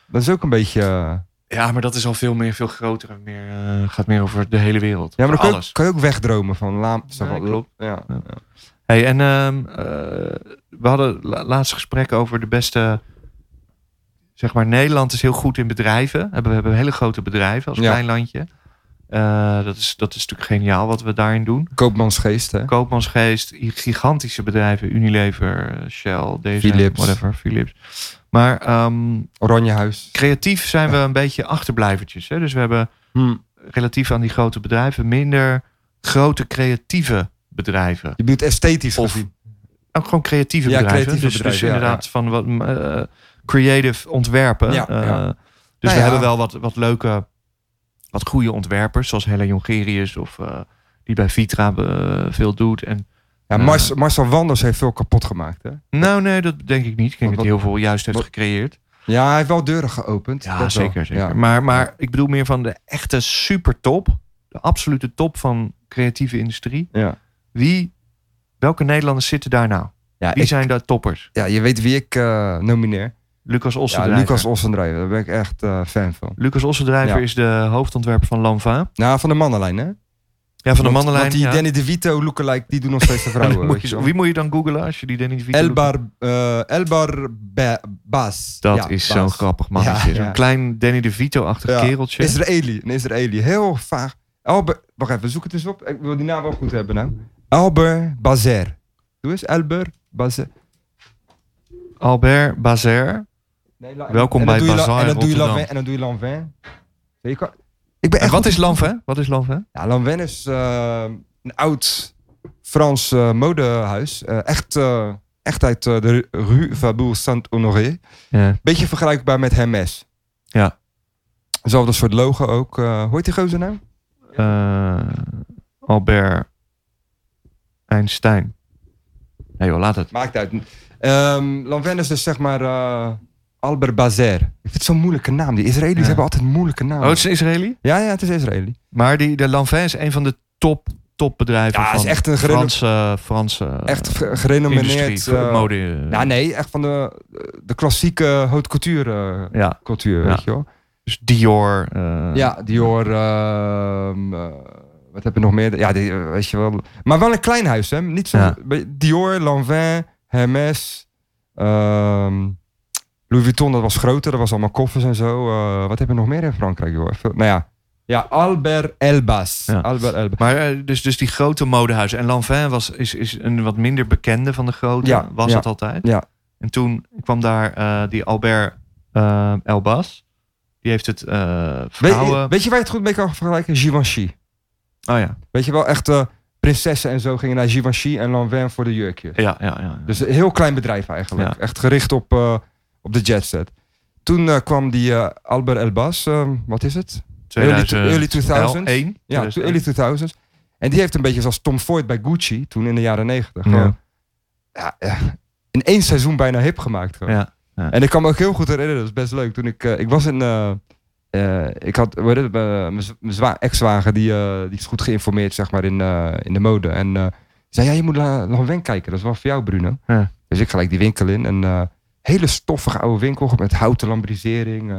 S2: Dat is ook een beetje... eh,
S1: Ja, maar dat is al veel meer, veel groter en meer, eh, gaat meer over de hele wereld.
S2: ja, maar dan
S1: Over
S2: kan je, ook,
S1: alles.
S2: kan je ook wegdromen van... Laam, zo
S1: Nee,
S2: van-
S1: klopt.
S2: Ja.
S1: Ja. Hey, en ehm, eh, we hadden la- laatst gesprek over de beste zeg maar, Nederland is heel goed in bedrijven. Hebben- We hebben hele grote bedrijven als
S2: Ja.
S1: klein landje. Eh, dat, is, dat is natuurlijk geniaal wat we daarin doen.
S2: Koopmansgeest, hè?
S1: Koopmansgeest, i- gigantische bedrijven. Unilever, eh, Shell, DSM,
S2: Philips.
S1: whatever, Philips. Maar ehm,
S2: Oranjehuis.
S1: creatief zijn we een beetje achterblijvertjes. Hè? Dus we hebben relatief aan die grote bedrijven minder grote creatieve bedrijven.
S2: Je bedoelt esthetisch
S1: Of
S2: gezien.
S1: Ook gewoon creatieve
S2: Ja,
S1: bedrijven.
S2: creatieve
S1: dus,
S2: bedrijven,
S1: dus
S2: ja,
S1: inderdaad van wat eh, creative ontwerpen.
S2: Ja,
S1: Eh, Dus
S2: ja. Nou
S1: we
S2: ja.
S1: hebben wel wat, wat leuke, wat goede ontwerpers. Zoals Helen Jongerius of eh, die bij Vitra eh, veel doet. En,
S2: Ja,
S1: eh,
S2: Mars- Marcel Wanders heeft veel kapot gemaakt, hè?
S1: nou nee, dat denk ik niet. Ik denk
S2: Wat-
S1: dat hij heel veel juist heeft
S2: wat-
S1: gecreëerd.
S2: Ja, hij heeft wel deuren geopend.
S1: Ja,
S2: dat wel.
S1: zeker. zeker.
S2: Ja.
S1: Maar, maar ik bedoel meer van de echte super top. De absolute top van creatieve industrie.
S2: Ja.
S1: Wie, welke Nederlanders zitten daar nou?
S2: Ja,
S1: Wie
S2: ik-
S1: zijn daar toppers?
S2: ja, je weet wie ik eh, nomineer.
S1: Lucas
S2: Ja,
S1: Ossendrijver.
S2: Lucas Ossendrijver. Daar ben ik echt eh, fan van.
S1: Lucas Ossendrijver
S2: Ja.
S1: is de hoofdontwerper van Lanva.
S2: Nou, van de mannenlijn, hè?
S1: Ja, van de
S2: Want-
S1: mannenlijn.
S2: Want die
S1: ja.
S2: Danny DeVito lookalike, die doen nog steeds de
S1: En dan
S2: vrouwen.
S1: moet
S2: weet
S1: je-
S2: je wel.
S1: wie moet je dan googlen als je die Danny DeVito...
S2: Elbar, eh Elbar Ba- Baas.
S1: Dat
S2: Ja,
S1: is
S2: Baas.
S1: zo'n grappig mannetje.
S2: Ja,
S1: Zo'n
S2: ja.
S1: klein Danny DeVito-achtig
S2: Ja.
S1: kereltje.
S2: Israëli, een Israëli. Heel vaag. Elber, wacht even, zoek het eens op. Ik wil die naam wel goed hebben nou. Elber Bazer. Doe eens, Elber Bazer.
S1: Albert Bazer.
S2: Nee, la-
S1: Welkom
S2: en
S1: bij
S2: dan doe je la-
S1: Bazaar
S2: En dan
S1: in
S2: doe je
S1: Rotterdam.
S2: Lanvin. En dan doe je Lanvin. Zie je, ik kan- Ik ben
S1: En
S2: echt
S1: wat is Lanva? Wat is Lanva?
S2: Ja, Lanvin is eh, een oud Frans eh, modehuis. Eh, echt, eh, echt uit eh, de Rue Faubourg Saint-Honoré.
S1: Ja.
S2: Beetje vergelijkbaar met Hermes.
S1: Ja.
S2: Hetzelfde soort logo ook. eh hoe heet die gozer nou?
S1: Eh, Albert Einstein. Nee joh, laat het.
S2: Maakt uit. Ehm Lanvin is dus zeg maar eh, Albert Bazer. Ik vind het zo'n moeilijke naam. Die Israëli's
S1: Ja.
S2: hebben altijd moeilijke namen.
S1: Oh, het is een Israëli?
S2: Ja, ja, het is Israëli.
S1: Maar die, de Lanvin is een van de top, topbedrijven
S2: Ja,
S1: van
S2: het is echt een gereno-
S1: Franse, Franse
S2: Echt
S1: eh,
S2: ge-
S1: industrie.
S2: gerenommeerd. eh,
S1: mode. eh,
S2: ja, nee, echt van de, de klassieke haute couture eh,
S1: ja,
S2: cultuur,
S1: Ja.
S2: weet je wel.
S1: dus Dior. eh,
S2: Ja, Dior. ehm, eh, wat heb je nog meer? Ja, die, eh, weet je wel. Maar wel een klein huis, hè? Niet zo.
S1: Ja.
S2: Dior, Lanvin, Hermes. ehm, Louis Vuitton, dat was groter. Dat was allemaal koffers en zo. Eh, wat heb je nog meer in Frankrijk, hoor? Veel- Nou ja. Ja, Albert Elbas.
S1: Ja.
S2: Albert Elbas.
S1: Maar eh, dus, dus die grote modehuizen. En Lanvin was, is, is een wat minder bekende van de grote.
S2: Ja,
S1: was
S2: ja,
S1: dat altijd.
S2: ja.
S1: En toen kwam daar eh, die Albert eh, Elbas. Die heeft het eh
S2: Weet,
S1: vrouwen...
S2: weet je waar je het goed mee kan vergelijken? Givenchy.
S1: oh ja.
S2: Weet je wel, echt eh, prinsessen en zo gingen naar Givenchy en Lanvin voor de jurkjes.
S1: Ja, ja, ja, ja.
S2: Dus een heel klein bedrijf eigenlijk.
S1: Ja.
S2: Echt gericht op, eh, op de jetset. Toen eh, kwam die eh, Albert Elbas, eh, wat is het? early, early 2000.
S1: 2001.
S2: Ja, to- early 2000. En die heeft een beetje zoals Tom Ford bij Gucci toen in de jaren 90.
S1: Ja.
S2: Gewoon, ja. Ja, in één seizoen bijna hip gemaakt. gewoon.
S1: Ja, ja.
S2: En ik kan me ook heel goed herinneren, dat is best leuk. Toen ik, eh, ik was in, eh, eh, ik had, hoe heet het, eh, mijn z- mijn zwa- ex-zwager, die, eh, die is goed geïnformeerd, zeg maar, in, eh, in de mode. En eh, die zei, ja, je moet naar Lanvin kijken, dat is wel voor jou, Bruno.
S1: Ja.
S2: Dus ik gelijk die winkel in. En eh, hele stoffige oude winkel, met houten lambrisering. eh,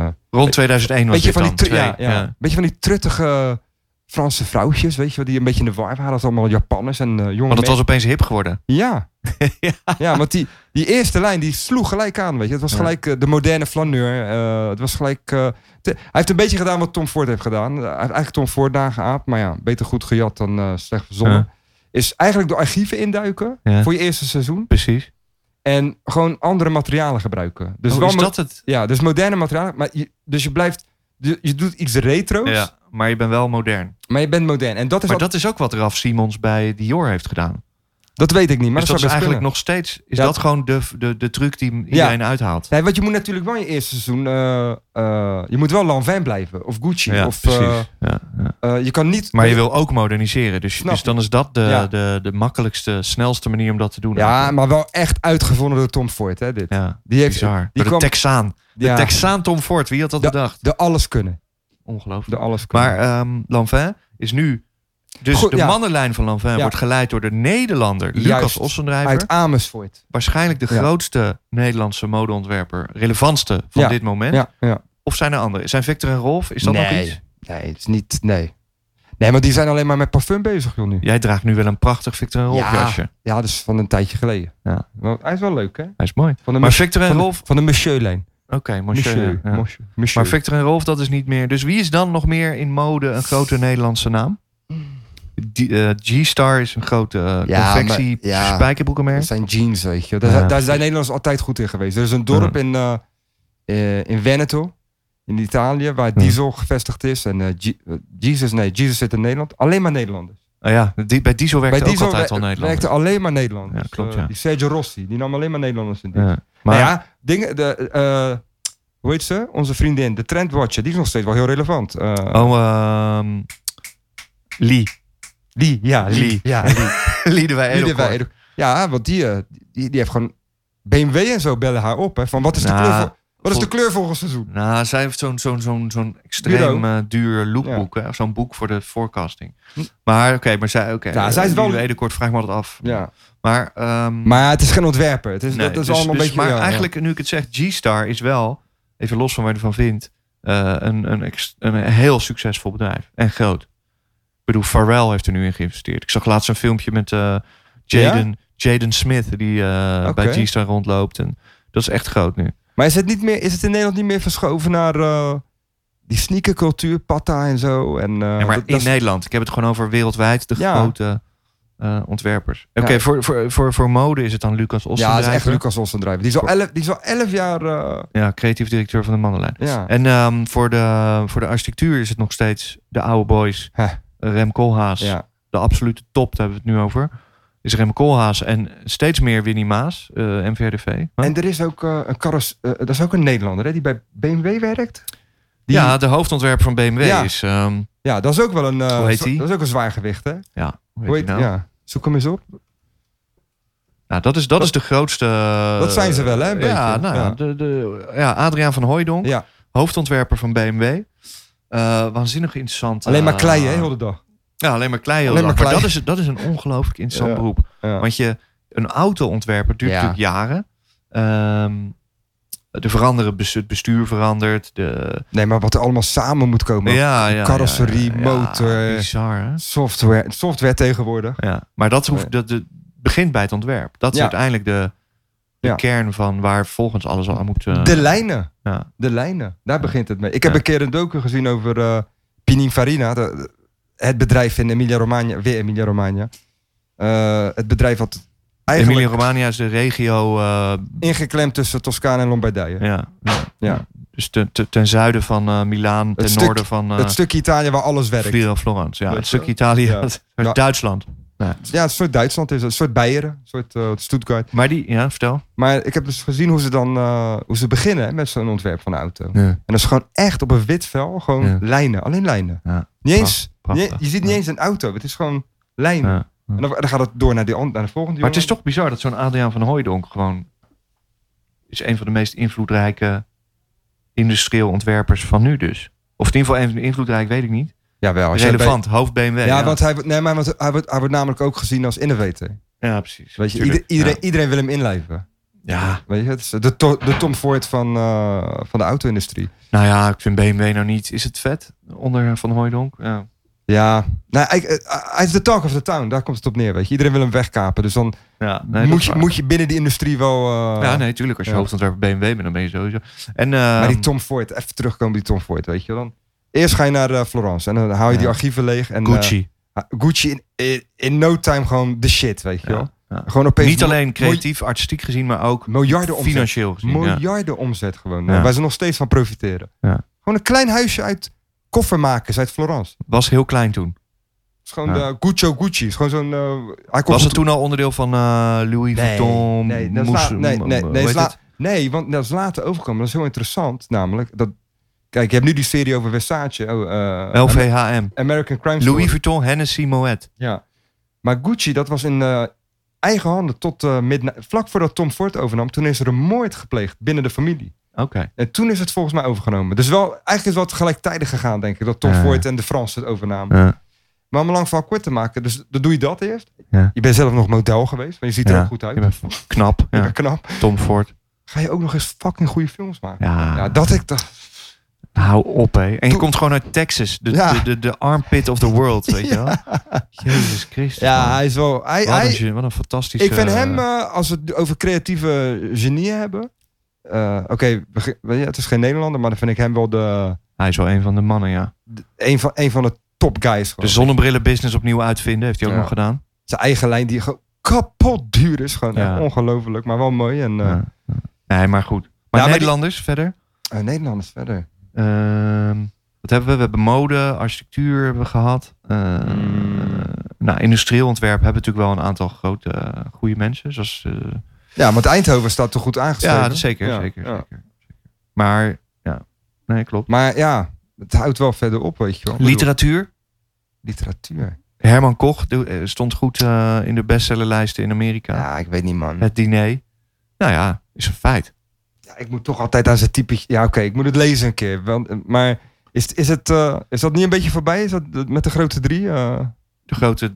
S2: eh,
S1: Rond 2001 was
S2: beetje,
S1: dit
S2: van die
S1: dan.
S2: tru-
S1: Twee,
S2: ja, ja, beetje van die truttige Franse vrouwtjes, weet je wel, die een beetje in de war waren. Dat is allemaal Japanners en eh jonge
S1: Want het was opeens hip geworden.
S2: ja. ja. want die, die eerste lijn die sloeg gelijk aan, weet je. Het was
S1: Ja.
S2: gelijk eh, de moderne flaneur. eh, het was gelijk... eh, te- hij heeft een beetje gedaan wat Tom Ford heeft gedaan. Eh, Hij heeft eigenlijk Tom Ford nageaapt, maar ja, beter goed gejat dan eh, slecht verzonnen.
S1: Ja.
S2: Is eigenlijk door archieven induiken
S1: Ja.
S2: voor je eerste seizoen.
S1: Precies.
S2: En gewoon andere materialen gebruiken. Dus
S1: Dus
S2: wel
S1: is
S2: mo-
S1: dat het?
S2: Ja, dus moderne materialen. Maar je, dus je blijft... Je, je doet iets retro's,
S1: Ja, maar je bent wel modern.
S2: maar je bent modern. En dat is...
S1: Maar
S2: al- dat,
S1: dat is ook wat Raf Simons bij Dior heeft gedaan.
S2: weet ik niet, maar
S1: dus dat is
S2: dat zou best
S1: eigenlijk
S2: kunnen.
S1: nog steeds... Is
S2: Ja.
S1: dat gewoon de, de, de truc die iedereen uithaalt?
S2: Nee, want je moet natuurlijk wel in je eerste seizoen. eh, eh, je moet wel Lanvin blijven. Of Gucci. of, eh,
S1: ja, ja.
S2: eh, je kan niet.
S1: Maar je wil ook moderniseren. Dus,
S2: Snap
S1: dus
S2: ik.
S1: dan is dat de,
S2: Ja.
S1: de, de makkelijkste, snelste manier om dat te doen.
S2: Ja,
S1: eigenlijk.
S2: maar wel echt uitgevonden door Tom Ford. Hè, dit.
S1: ja
S2: Die heeft.
S1: bizar. Maar
S2: die
S1: de
S2: kwam-
S1: Texaan. De
S2: ja,
S1: Texaan Tom Ford. Wie had dat
S2: Ja.
S1: bedacht?
S2: De alles kunnen.
S1: Ongelooflijk.
S2: De alles kunnen.
S1: Maar ehm Lanvin is nu... Dus
S2: Goed,
S1: de
S2: ja.
S1: mannenlijn van Lanvin
S2: Ja.
S1: wordt geleid door de Nederlander Lucas
S2: Juist.
S1: Ossendrijver.
S2: Uit Amersfoort.
S1: Waarschijnlijk de
S2: Ja.
S1: grootste Nederlandse modeontwerper. Relevantste van
S2: Ja.
S1: dit moment.
S2: Ja, ja.
S1: Of zijn er anderen? Zijn Victor en Rolf? Is dat nog
S2: nee.
S1: iets?
S2: Nee, het is niet. Nee. Nee, want die zijn alleen maar met parfum bezig, joh, nu.
S1: Jij draagt nu wel een prachtig Victor en Rolf
S2: Ja.
S1: jasje.
S2: Ja, dat is van een tijdje geleden.
S1: Ja.
S2: Wel, Hij is wel leuk, hè?
S1: Hij is mooi.
S2: Van de,
S1: Maar
S2: Mich-
S1: Victor en
S2: van de-
S1: Rolf...
S2: van de Monsieur-lijn.
S1: Oké, monsieur. ja.
S2: monsieur, monsieur.
S1: Maar Victor en Rolf, dat is niet meer. Dus wie is dan nog meer in mode een grote Nederlandse naam? Die, eh, G-Star is een grote eh,
S2: Mm. Ja,
S1: confectie
S2: maar- ja.
S1: spijkerbroekenmerk.
S2: Dat zijn jeans, weet je. Daar,
S1: Ja.
S2: daar zijn Nederlanders altijd goed in geweest. Er is een dorp in, eh, eh, in Veneto, in Italië, waar Diesel gevestigd is. En eh, Je- eh, Jesus, nee, Jesus zit in Nederland. Alleen maar Nederlanders.
S1: Oh ja, die- bij Diesel werkte
S2: Bij Diesel
S1: ook altijd
S2: wer-
S1: al Nederland.
S2: werkten alleen maar Nederlanders.
S1: Ja, klopt,
S2: Eh,
S1: ja.
S2: die Sergio Rossi, die nam alleen maar Nederlanders in dienst.
S1: Ja.
S2: Maar
S1: Maar
S2: ja, dingen, de, eh, hoe heet ze? Onze vriendin, de Trendwatcher, die is nog steeds wel heel relevant. Eh,
S1: oh, ehm, Lee.
S2: Die, ja,
S1: Lee.
S2: Lee. Ja, Lee.
S1: Liedewij
S2: Die
S1: Edelkort.
S2: erbij- Ja, want die, eh, die, die heeft gewoon BMW en zo bellen haar op. Hè, van wat is, de
S1: Nou,
S2: kleur voor- wat is de
S1: vol-
S2: kleur volgens seizoen?
S1: Nou, zij heeft zo'n zo'n zo'n zo'n extreem
S2: Bureau.
S1: eh, duur lookboek. hè. Zo'n boek voor de forecasting. Maar oké, maar zij... oké.
S2: Ja, zij is wel-
S1: Liedewij Edelkort, vraag me altijd af.
S2: Ja.
S1: Maar... ehm,
S2: Maar het is geen ontwerper. Het is,
S1: Nee,
S2: dat is
S1: dus-
S2: allemaal
S1: dus-
S2: een beetje...
S1: Maar
S2: ja, ja.
S1: eigenlijk, nu ik het zeg, G-Star is wel, even los van waar je ervan vindt, eh, een, een, ex- een heel succesvol bedrijf. En groot. Ik bedoel, Pharrell heeft er nu in geïnvesteerd. Ik zag laatst een filmpje met eh, Jaden, Jaden Smith, die eh, bij
S2: Oké.
S1: G-Star rondloopt. En dat is echt groot nu.
S2: Maar is het, niet meer, is het in Nederland niet meer verschoven naar eh, die sneakercultuur, patta en zo? En, eh,
S1: Ja, maar
S2: dat-
S1: in
S2: dat is-
S1: Nederland. Ik heb het gewoon over wereldwijd de
S2: Ja.
S1: grote eh, ontwerpers. Oké,
S2: Ja.
S1: voor, voor, voor, voor mode is het dan Lucas
S2: ja, dat is echt
S1: Ostendrijver. Ja,
S2: Lucas Ossendrijver. Die is al elf, die is al elf jaar... eh,
S1: creatief directeur van de Mandelijn.
S2: ja.
S1: En ehm, voor, de, voor de architectuur is het nog steeds de oude boys.
S2: Huh.
S1: Rem Koolhaas.
S2: ja.
S1: De absolute top, daar hebben we het nu over. Is Rem Koolhaas en steeds meer Winnie Maas, eh MVRDV. Huh?
S2: En er is ook eh, een karros... eh, dat is ook een Nederlander hè, die bij BMW werkt. Die,
S1: Ja, de hoofdontwerper van BMW
S2: Ja.
S1: is... ehm,
S2: ja, dat is ook wel een... eh,
S1: Hoe heet
S2: zo-
S1: die?
S2: Dat is ook een zwaargewicht, hè?
S1: ja, hoe
S2: Hoe
S1: heet
S2: heet,
S1: die nou?
S2: ja. Zoek hem eens op.
S1: Nou, dat is, dat is de grootste... eh,
S2: Dat zijn ze wel, hè, een
S1: ja,
S2: beetje.
S1: nou,
S2: Ja.
S1: De, de, ja, Adriaan van Hooijdonk,
S2: Ja.
S1: hoofdontwerper van BMW. Eh, waanzinnig interessant.
S2: Alleen maar
S1: eh,
S2: klei, hè, heel de dag.
S1: Ja, alleen maar klei. heel
S2: Alleen
S1: lang.
S2: maar
S1: Maar
S2: klei.
S1: dat is, dat is een ongelooflijk interessant
S2: Ja.
S1: beroep.
S2: Ja.
S1: Want je, een auto ontwerpen duurt
S2: Ja.
S1: natuurlijk jaren. Ehm er veranderen, bes- het bestuur verandert. De,
S2: Nee, maar wat er allemaal samen moet komen.
S1: ja, ja,
S2: carrosserie,
S1: ja, ja,
S2: motor.
S1: bizar, hè?
S2: Software, software tegenwoordig.
S1: Ja. Maar dat, hoeft, dat, dat begint bij het ontwerp. Dat is
S2: Ja.
S1: uiteindelijk de, de
S2: Ja.
S1: kern van waar volgens alles aan moet... eh,
S2: De lijnen.
S1: ja.
S2: De lijnen. Daar begint het mee. Ik heb
S1: Ja.
S2: een keer een docu gezien over eh Pininfarina. de- de- het bedrijf in Emilia-Romagna. Weer Emilia-Romagna. Eh, het bedrijf had eigenlijk
S1: Emilia-Romagna is de regio... eh,
S2: ingeklemd tussen Toscane en Lombardije.
S1: ja. Ja.
S2: Ja.
S1: Dus ten, ten, ten zuiden van eh Milaan, ten
S2: stuk-
S1: noorden van eh
S2: Het stukje Italië waar alles werkt.
S1: Vira Florence. Ja,
S2: Weet
S1: het
S2: je
S1: stukje Italië,
S2: Ja.
S1: dat-
S2: Ja.
S1: Duitsland.
S2: Ja, het is een soort Duitsland is het. Een soort Beieren. Een soort eh, Stuttgart.
S1: Maar die, ja, vertel.
S2: Maar ik heb dus gezien hoe ze dan eh, hoe ze beginnen hè, met zo'n ontwerp van een auto. En dat is gewoon echt op een wit vel. Gewoon
S1: Ja.
S2: lijnen. Alleen lijnen.
S1: Ja.
S2: Niet eens,
S1: Prachtig.
S2: niet- je ziet niet
S1: Ja.
S2: eens een auto. Het is gewoon lijnen.
S1: Ja.
S2: En dan, dan gaat het door naar, die, an- naar de volgende
S1: Maar het is
S2: jongen.
S1: toch bizar dat zo'n Adriaan van Hooijdonk gewoon is een van de meest invloedrijke industrieel ontwerpers van nu dus. Of in ieder geval een van de invloedrijk, weet ik niet.
S2: Jawel, als jij bij-
S1: Relevant, hoofd BMW.
S2: Ja, want hij, wordt- nee, maar want hij, wordt, hij wordt namelijk ook gezien als innovator.
S1: ja precies.
S2: Weet je,
S1: Tuurlijk.
S2: ieder- iedereen, iedereen wil hem inlijven.
S1: Ja. Ja.
S2: Weet je, het is de, to- de Tom Ford van, eh, van de auto-industrie.
S1: nou ja, ik vind BMW nou niet. Is het vet onder Van Hooijdonk? Ja.
S2: Ja, nou, hij, eh, hij is de talk of the town. Daar komt het op neer, weet je. Iedereen wil hem wegkapen. Dus dan
S1: Ja, nee, dat
S2: moet,
S1: is
S2: je,
S1: waar.
S2: moet je binnen die industrie wel... eh,
S1: ja, nee, tuurlijk. Als je
S2: Ja.
S1: hoofdontwerper BMW bent, dan ben je sowieso. En,
S2: Maar die
S1: ehm,
S2: Tom Ford, even terugkomen bij die Tom Ford, weet je. Dan, eerst ga je naar eh, Florence en dan haal je die
S1: Ja.
S2: archieven leeg. En, eh,
S1: Gucci.
S2: Gucci in, in, in no time gewoon de shit, weet je
S1: Ja,
S2: wel.
S1: ja.
S2: Gewoon opeens
S1: niet
S2: mil-
S1: alleen creatief, artistiek gezien, maar ook
S2: miljarden omzet.
S1: financieel gezien. ja.
S2: miljarden omzet gewoon. eh,
S1: Ja.
S2: Waar ze nog steeds van profiteren.
S1: Ja.
S2: Gewoon een klein huisje uit koffermakers uit Florence.
S1: Was heel klein toen.
S2: Het is gewoon
S1: Ja.
S2: de Guccio Gucci. Het is gewoon zo'n... eh, hij komt
S1: Was het toen al onderdeel van eh, Louis
S2: Nee,
S1: Vuitton?
S2: nee, dat is
S1: Moes-
S2: la- nee, nee,
S1: hoe
S2: nee,
S1: heet
S2: is la-
S1: het?
S2: Nee, want dat is later overkomen. Dat is heel interessant namelijk. Dat, kijk, je hebt nu die serie over Versace. oh, eh,
S1: LVHM.
S2: American Crime Story.
S1: Louis Vuitton, Hennessy, Moet.
S2: Ja. Maar Gucci, dat was in eh, eigen handen tot eh midnight. Vlak voordat Tom Ford overnam, toen is er een moord gepleegd binnen de familie.
S1: Oké.
S2: En toen is het volgens mij overgenomen. Dus wel, eigenlijk is het wel tegelijkertijd gegaan, denk ik. Dat Tom
S1: Ja.
S2: Ford en de Fransen het overnamen. Maar om een lang verhaal kort te maken, dus dan doe je dat eerst.
S1: Ja.
S2: Je bent zelf nog model geweest, maar je ziet er
S1: Ja.
S2: ook goed uit.
S1: Je
S2: Je
S1: bent knap. Ja.
S2: bent knap.
S1: Tom Ford.
S2: Ga je ook nog eens fucking goede films maken?
S1: Ja.
S2: Ja, dat ik dacht.
S1: Hou op, hé. En je
S2: Toen-
S1: komt gewoon uit Texas. De,
S2: Ja.
S1: de, de, de armpit of the world, weet je wel? Jezus Christus. man.
S2: hij is wel. Hij,
S1: wat,
S2: hij-
S1: eh,
S2: eh,
S1: een, ge- wat een fantastische...
S2: ik vind hem, eh, als we het over creatieve genieën hebben, eh, oké, we ge- we- ja, het is geen Nederlander, maar dan vind ik hem wel de,
S1: Hij is wel een van de mannen, ja.
S2: de- een, van, een van de top guys.
S1: De
S2: Gewoon.
S1: zonnebrillenbusiness opnieuw uitvinden heeft hij ook
S2: Ja.
S1: nog gedaan.
S2: Zijn eigen lijn die gewoon kapot duur is. Gewoon
S1: Ja.
S2: echt ongelooflijk, maar wel mooi. En eh,
S1: Ja. Nee, maar goed. Maar
S2: maar die-
S1: Nederlanders verder?
S2: eh, Nederlanders verder.
S1: Ehm, wat hebben we? We hebben mode, architectuur hebben we gehad. Eh,
S2: Mm.
S1: Nou, industrieel ontwerp hebben we natuurlijk wel een aantal grote, eh, goede mensen. Zoals, eh,
S2: Ja, want Eindhoven staat toch goed aangeschreven?
S1: ja, dat zeker,
S2: Ja,
S1: zeker,
S2: ja.
S1: zeker, zeker. Maar, ja, nee, klopt.
S2: Maar ja, het houdt wel verder op, weet je wel. Ik bedoel,
S1: Literatuur.
S2: Literatuur.
S1: Herman Koch doe- eh, stond goed eh, in de bestsellerlijsten in Amerika.
S2: Ja. ik weet niet, man.
S1: Het diner. Nou ja, is een feit.
S2: Ja, ik moet toch altijd aan zijn type... Ja, oké, ik moet het lezen een keer. wel, eh, maar is, is, het, eh, is dat niet een beetje voorbij? Is dat eh, met de grote drie? eh,
S1: De grote...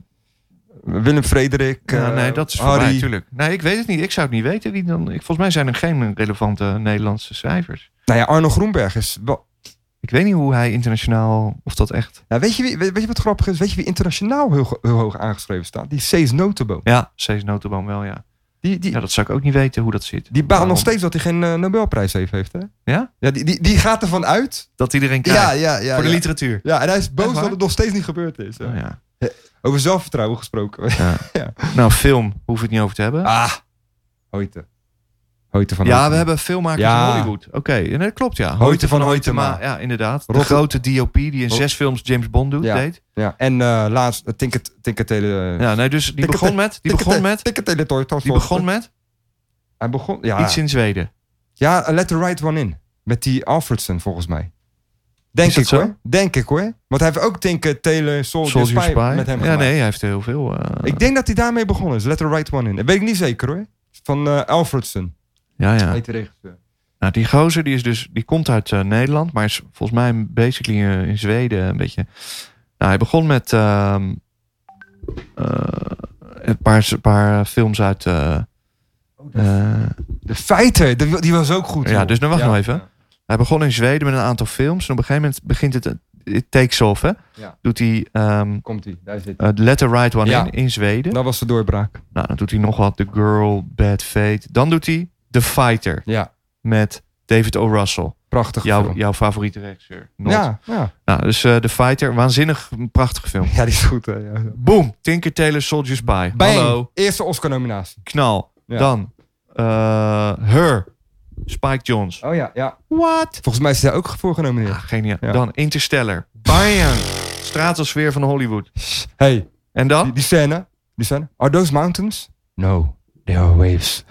S2: Willem Frederik,
S1: Ja,
S2: eh,
S1: nee, dat is voor mij
S2: Harry.
S1: natuurlijk. Nee, ik weet het niet. Ik zou het niet weten. Wie dan... ik- Volgens mij zijn er geen relevante Nederlandse cijfers.
S2: Nou ja, Arno Groenberg is wel...
S1: Ik weet niet hoe hij internationaal... Of dat echt...
S2: Nou, weet, je wie, weet, weet je wat grappig is? Weet je wie internationaal heel, go- heel hoog aangeschreven staat? Die Cees Notebo.
S1: Ja, Cees Notenboom wel, ja.
S2: Die, die,
S1: Ja, dat zou ik ook niet weten hoe dat zit.
S2: die baalt nog
S1: Waarom?
S2: steeds dat hij geen eh, Nobelprijs heeft, heeft hè?
S1: Ja?
S2: Ja, die, die, die gaat ervan uit.
S1: Dat iedereen krijgt.
S2: Ja, ja, ja.
S1: voor de
S2: ja.
S1: literatuur.
S2: Ja, en hij is boos
S1: Echt waar?
S2: dat het nog steeds niet gebeurd is. ja.
S1: Oh, ja.
S2: Over zelfvertrouwen gesproken.
S1: Nou, film hoef ik het niet over te hebben.
S2: Ah, Hoyte. Hoyte van
S1: ja,
S2: Hoytema.
S1: we hebben filmmakers
S2: Ja.
S1: in Hollywood. Oké, en dat klopt ja.
S2: Hoyte van Hoytema.
S1: maar Ja, inderdaad. De
S2: Rotter-
S1: grote DOP die in
S2: Ro-
S1: zes films James Bond doet,
S2: Ja.
S1: deed.
S2: Ja, en eh, laatst eh, Tinket Tinketele... eh,
S1: Ja, nee, dus die
S2: Tikkete-
S1: begon met... Die begon
S2: Tinkete-
S1: met...
S2: Tinketele Toy Toy
S1: Die
S2: Toy.
S1: begon met
S2: Hij begon... Ja,
S1: iets in Zweden.
S2: ja eh, Let the Right One In. Met die Alfredson, volgens mij. Denk
S1: Is dat
S2: ik hoor.
S1: zo?
S2: Denk ik hoor. Want hij heeft ook Tinketele Soldier,
S1: Soldier
S2: Spy,
S1: Spy.
S2: met hem
S1: ja,
S2: gemaakt.
S1: nee, hij heeft heel veel. eh,
S2: Ik denk dat hij daarmee begonnen is. Let the Right One In. Dat weet ik niet zeker hoor. Van eh Alfredson.
S1: ja, ja.
S2: Heet de regisseur.
S1: Nou, die gozer die is dus, die komt uit eh, Nederland, maar is volgens mij basically eh, in Zweden een beetje. Nou, hij begon met ehm, eh, een paar, een paar films uit. eh,
S2: Oh,
S1: eh,
S2: De Feiter, die, die was ook goed.
S1: Ja,
S2: joh.
S1: dus nou wacht nog even. hij begon in Zweden met een aantal films. En op een gegeven moment begint het. It takes off, hè?
S2: Ja.
S1: Doet hij ehm
S2: Komt hij, daar zit hij.
S1: eh, Let the Right One
S2: Ja.
S1: in in Zweden.
S2: Dat was de doorbraak.
S1: Nou, dan doet hij nog wat. The Girl, Bad Fate. Dan doet hij The Fighter
S2: Ja,
S1: met David O. Russell.
S2: prachtig.
S1: Jouw,
S2: film.
S1: jouw favoriete regisseur. Not.
S2: Ja, ja.
S1: Nou, dus eh, The Fighter. Waanzinnig een prachtige film.
S2: ja, die is goed. Hè, ja.
S1: Boom. Tinker Tailor Soldier Spy.
S2: Bang.
S1: Hallo.
S2: Eerste Oscar-nominatie.
S1: Knal.
S2: Ja.
S1: Dan. eh, Her. Spike Jones.
S2: Oh ja, ja.
S1: What?
S2: Volgens mij is hij daar ook voor genomineerd.
S1: Ja, geniaal.
S2: Ja.
S1: Dan Interstellar. Bam. Stratosfeer van Hollywood.
S2: Hey,
S1: En dan?
S2: die, die scène. Die scène. Are those mountains? No, they are waves.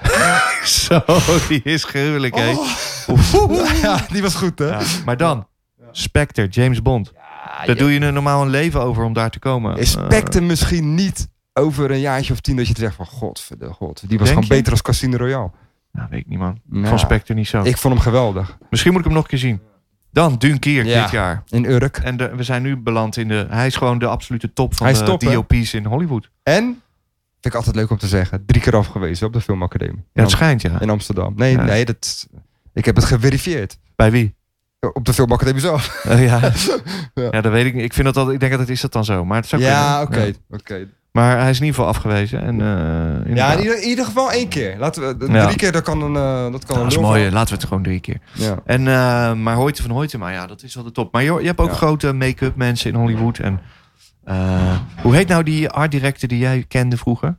S1: Zo, die is gruwelijk, hè?
S2: Oh. ja, die was goed, hè?
S1: Ja, maar dan. Spectre, James Bond.
S2: Ja,
S1: Daar doe je een normaal een leven over om daar te komen. Eh,
S2: Is Spectre misschien niet over een jaartje of tien dat je zegt van... Godverde, god. Die
S1: Denk
S2: was gewoon
S1: je?
S2: beter als Casino Royale.
S1: Eh, nou, weet ik niet, man.
S2: Ja.
S1: Van Spectre niet zo.
S2: Ik vond hem geweldig.
S1: Misschien moet ik hem nog een keer zien. Dan Dunkirk
S2: Ja.
S1: dit jaar.
S2: In Urk.
S1: En de- we zijn nu beland in de... Hij is gewoon de absolute top van
S2: Hij is
S1: de
S2: top, hè?
S1: DOP's in Hollywood.
S2: En, vind ik altijd leuk om te zeggen, drie keer afgewezen op de filmacademie.
S1: Ja, het schijnt, ja.
S2: in Amsterdam. Nee,
S1: Ja.
S2: nee, dat, ik heb het geverifieerd.
S1: Bij wie?
S2: Op de filmacademie zelf.
S1: Eh, ja.
S2: Ja.
S1: ja, dat weet ik niet. Ik, vind dat al, ik denk dat het is dat dan zo. Maar het zou
S2: Ja, oké.
S1: kunnen. Ja.
S2: oké.
S1: Maar hij is in ieder geval afgewezen. En, eh,
S2: Ja,
S1: inderdaad.
S2: in ieder, in ieder geval één keer. Laten we, d-
S1: Ja.
S2: Drie keer, dat kan een... eh, dat kan
S1: Nou,
S2: een
S1: dat is
S2: lul
S1: mooi.
S2: van.
S1: Laten we het gewoon drie keer.
S2: Ja.
S1: En, eh, maar Hoyte van Hoyte, maar ja, dat is wel de top. Maar joh, je hebt ook
S2: Ja.
S1: grote make-up mensen in Hollywood. En, eh, hoe heet nou die art director die jij kende vroeger?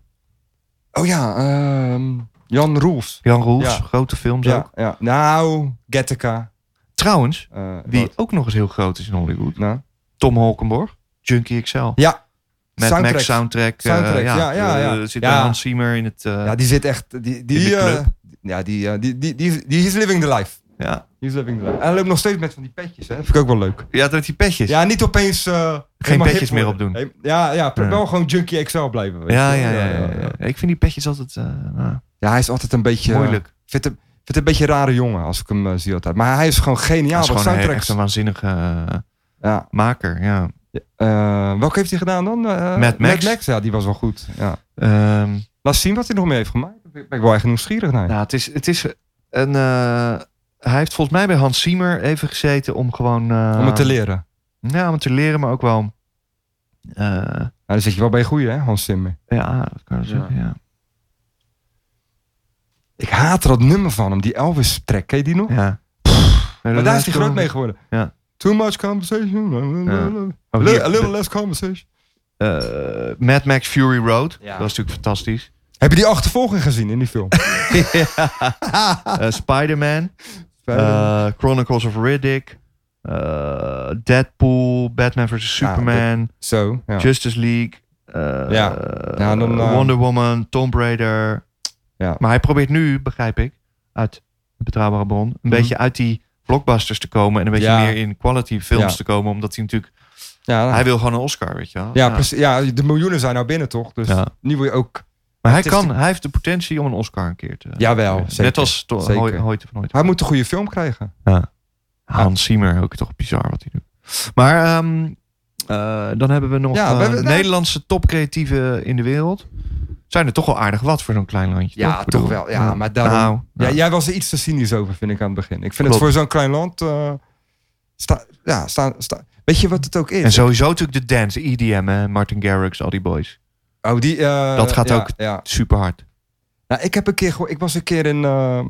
S2: Oh ja, ehm, Jan Roels.
S1: Jan Roels,
S2: Ja.
S1: grote films
S2: Ja,
S1: ook.
S2: ja. Nou, Getteka.
S1: Trouwens,
S2: eh,
S1: wie
S2: wat?
S1: ook nog eens heel groot is in Hollywood.
S2: Nou.
S1: Tom Holkenborg, Junkie XL.
S2: Ja.
S1: Met
S2: Soundtrack.
S1: Max soundtrack. eh,
S2: Soundtrack, ja, ja,
S1: eh,
S2: ja.
S1: Er zit
S2: Ja.
S1: Hans Siemer in het... eh,
S2: Ja, die zit echt... Die, die,
S1: In de
S2: eh,
S1: club.
S2: ja, die, eh, die, die, die, die is living the life.
S1: ja.
S2: He's living the life. En hij loopt nog steeds met van die petjes, hè. vind ik ook wel leuk.
S1: ja, dat die petjes.
S2: Ja, niet opeens... eh, helemaal
S1: petjes
S2: hip
S1: meer
S2: worden.
S1: opdoen.
S2: He- Ja, ja,
S1: Ja.
S2: wel gewoon Junkie XL blijven. weet
S1: Ja,
S2: je.
S1: ja, ja, ja, ja. Ik vind die petjes altijd eh, nou,
S2: Ja, hij is altijd een beetje...
S1: moeilijk.
S2: Ik eh, vind hem, vind hem een beetje een rare jongen als ik hem eh, zie altijd. Maar hij is gewoon
S1: Ja,
S2: geniaal.
S1: is
S2: wat
S1: gewoon een-
S2: soundtracks.
S1: echt een waanzinnige eh,
S2: Ja.
S1: maker. Ja.
S2: Eh, welke heeft hij gedaan dan? Eh,
S1: Mad Max.
S2: ja, die was wel goed. Ja.
S1: Ehm,
S2: Laat zien wat hij nog meer heeft gemaakt. Daar ben ik wel echt nieuwsgierig naar.
S1: nou, het is, het is een. eh, hij heeft volgens mij bij Hans Siemer even gezeten om gewoon. eh,
S2: Om het te leren.
S1: Ja, om het te leren, maar ook wel. eh,
S2: Nou, dan zit je wel bij een goeie, hè, Hans Zimmer.
S1: ja, dat kan ik
S2: Ja.
S1: zeggen. Ja.
S2: Ik haat dat nummer van hem, die Elvis track. Ken je die nog?
S1: Ja.
S2: maar daar is hij groot mee geworden.
S1: Ja.
S2: Too much conversation.
S1: Oh,
S2: Li-
S1: hier.
S2: a little less conversation.
S1: Eh, Mad Max Fury Road.
S2: Ja.
S1: Dat is natuurlijk fantastisch.
S2: Heb je die achtervolging gezien in die film? Ah.
S1: Eh, Spider-Man.
S2: Ja,
S1: eh, Chronicles of Riddick. eh, Deadpool. Batman vs.
S2: Ja,
S1: Superman.
S2: Zo. Nou, Ja.
S1: Justice League. eh,
S2: Ja. Ja, dan, eh,
S1: Wonder Woman. Tomb Raider.
S2: Ja.
S1: Maar hij probeert nu, begrijp ik, uit een betrouwbare bron, een beetje uit die blockbusters te komen en een beetje
S2: Mhm. Ja.
S1: meer in quality films
S2: Ja.
S1: te komen, omdat hij natuurlijk,
S2: Ja,
S1: hij wil gewoon een Oscar, weet je wel.
S2: ja, precies. Ja, de miljoenen zijn nou binnen, toch? Dus
S1: Ja.
S2: nu wil je ook...
S1: Maar hij
S2: Het is
S1: kan, hij heeft de potentie om een Oscar een keer te.
S2: Jawel,
S1: Net
S2: zeker.
S1: als to,
S2: Zeker.
S1: Hoy- Hoyte van Hoyte.
S2: Hij moet een goede film krijgen.
S1: Hans Siemer, ook toch bizar wat hij doet. Maar ehm, eh, dan hebben we nog
S2: Ja, we
S1: eh,
S2: hebben- nou-
S1: Nederlandse topcreatieven in de wereld. Zijn er toch wel aardig wat voor zo'n klein landje?
S2: Ja,
S1: toch, Ik bedoel,
S2: toch wel. Ja, maar daarom-
S1: nou, nou.
S2: Ja, jij was er iets te cynisch over, vind ik, aan het begin. Ik vind
S1: Klopt.
S2: het voor zo'n klein land... eh, sta, ja, sta, sta, weet je wat het ook is?
S1: En sowieso natuurlijk de dance, EDM, hè, Martin Garrix, al die boys.
S2: Oh, die, eh,
S1: Dat gaat
S2: ja,
S1: ook-
S2: Ja.
S1: Super hard.
S2: Nou, ik, heb een keer, geho- ik was een keer in, ehm,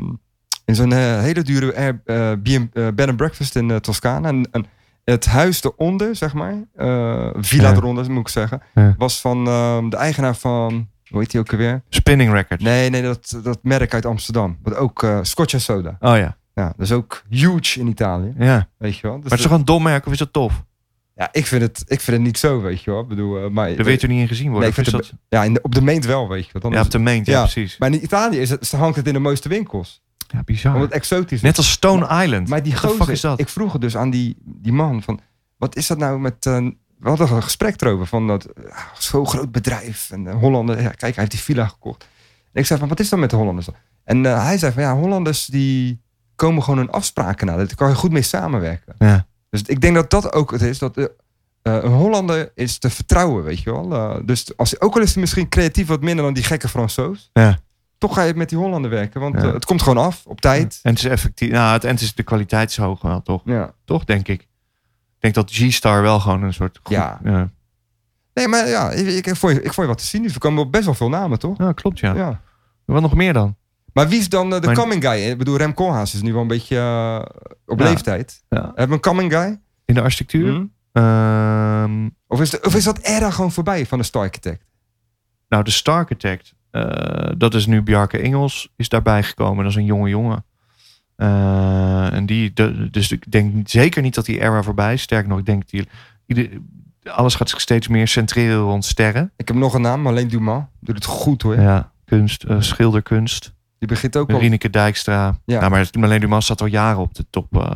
S2: in zo'n eh, hele dure Air- eh, B&- eh, bed and breakfast in eh, Toscana. En, en het huis eronder, zeg maar, eh, villa
S1: Ja.
S2: eronder moet ik zeggen,
S1: Ja.
S2: was van ehm, de eigenaar van, hoe heet die ook alweer?
S1: Spinning Records.
S2: Nee, nee, dat, dat merk uit Amsterdam. Wat ook eh, Scotch en Soda.
S1: Oh ja.
S2: Ja, dat is ook huge in Italië,
S1: ja. Maar
S2: weet je wel. Dus
S1: het is
S2: dat-
S1: toch een dom merk of is dat tof?
S2: ja, ik, vind het, ik vind het niet zo, weet je wel. Ik bedoel, eh, maar,
S1: Daar weet je niet in gezien
S2: Nee,
S1: worden.
S2: ik
S1: Of is
S2: vind
S1: dat,
S2: ja, in de- op de meent wel, weet je wel. Dan
S1: ja,
S2: is
S1: op de meent, ja,
S2: Ja.
S1: precies.
S2: het- Maar in Italië is het, hangt het in de mooiste winkels.
S1: Ja, bizar.
S2: Omdat het exotisch is.
S1: Net als Stone Island.
S2: Maar die
S1: What the fuck
S2: gozer,
S1: is dat?
S2: ik vroeg het dus aan die, die man van, wat is dat nou met, eh, we hadden een gesprek erover van dat ah, zo'n groot bedrijf en eh, Hollander, ja, kijk, hij heeft die villa gekocht. En ik zei van, wat is dat met de Hollanders? dan? En eh, hij zei van, ja, Hollanders die komen gewoon hun afspraken na, daar kan je goed mee samenwerken.
S1: Ja.
S2: Dus ik denk dat dat ook het is, dat eh, eh, een Hollander is te vertrouwen, weet je wel. Eh, dus als, ook al is hij misschien creatief wat minder dan die gekke Fransoos,
S1: Ja.
S2: toch ga je met die Hollander werken, want
S1: Ja.
S2: eh, het komt gewoon af op tijd.
S1: En het is effectief. Nou, het, en het is de kwaliteit is hoog wel, toch?
S2: Ja.
S1: Toch, denk ik. Ik denk dat G-Star wel gewoon een soort... goed-
S2: Ja.
S1: ja.
S2: Nee, maar ja, ik, ik, ik vond, je, ik vond je wat te zien. Dus we kwamen op best wel veel namen, toch?
S1: Ja, klopt, ja.
S2: Ja.
S1: Wat nog meer dan?
S2: Maar wie is dan eh, de
S1: Maar-
S2: coming guy? Ik bedoel, Rem Koolhaas is nu wel een beetje eh, op
S1: Ja.
S2: leeftijd.
S1: Ja.
S2: Hebben we een coming guy?
S1: In de architectuur?
S2: Mhm.
S1: Ehm,
S2: Of, is de- of is dat era gewoon voorbij van de Star Architect?
S1: nou, de Star Architect. eh, dat is nu Bjarke Engels is daarbij gekomen. Dat is een jonge jongen. Eh, en die, de- dus ik denk niet- zeker niet dat die era voorbij is. Sterker nog, ik denk dat die, ieder- alles gaat zich steeds meer centreren rond sterren.
S2: Ik heb nog een naam, alleen Dumas. Doet het goed hoor.
S1: Ja, kunst, eh, schilderkunst.
S2: Die begint ook al.
S1: Rieneke Dijkstra.
S2: Ja.
S1: Nou, maar Marleen Dumas zat al jaren op de top. eh,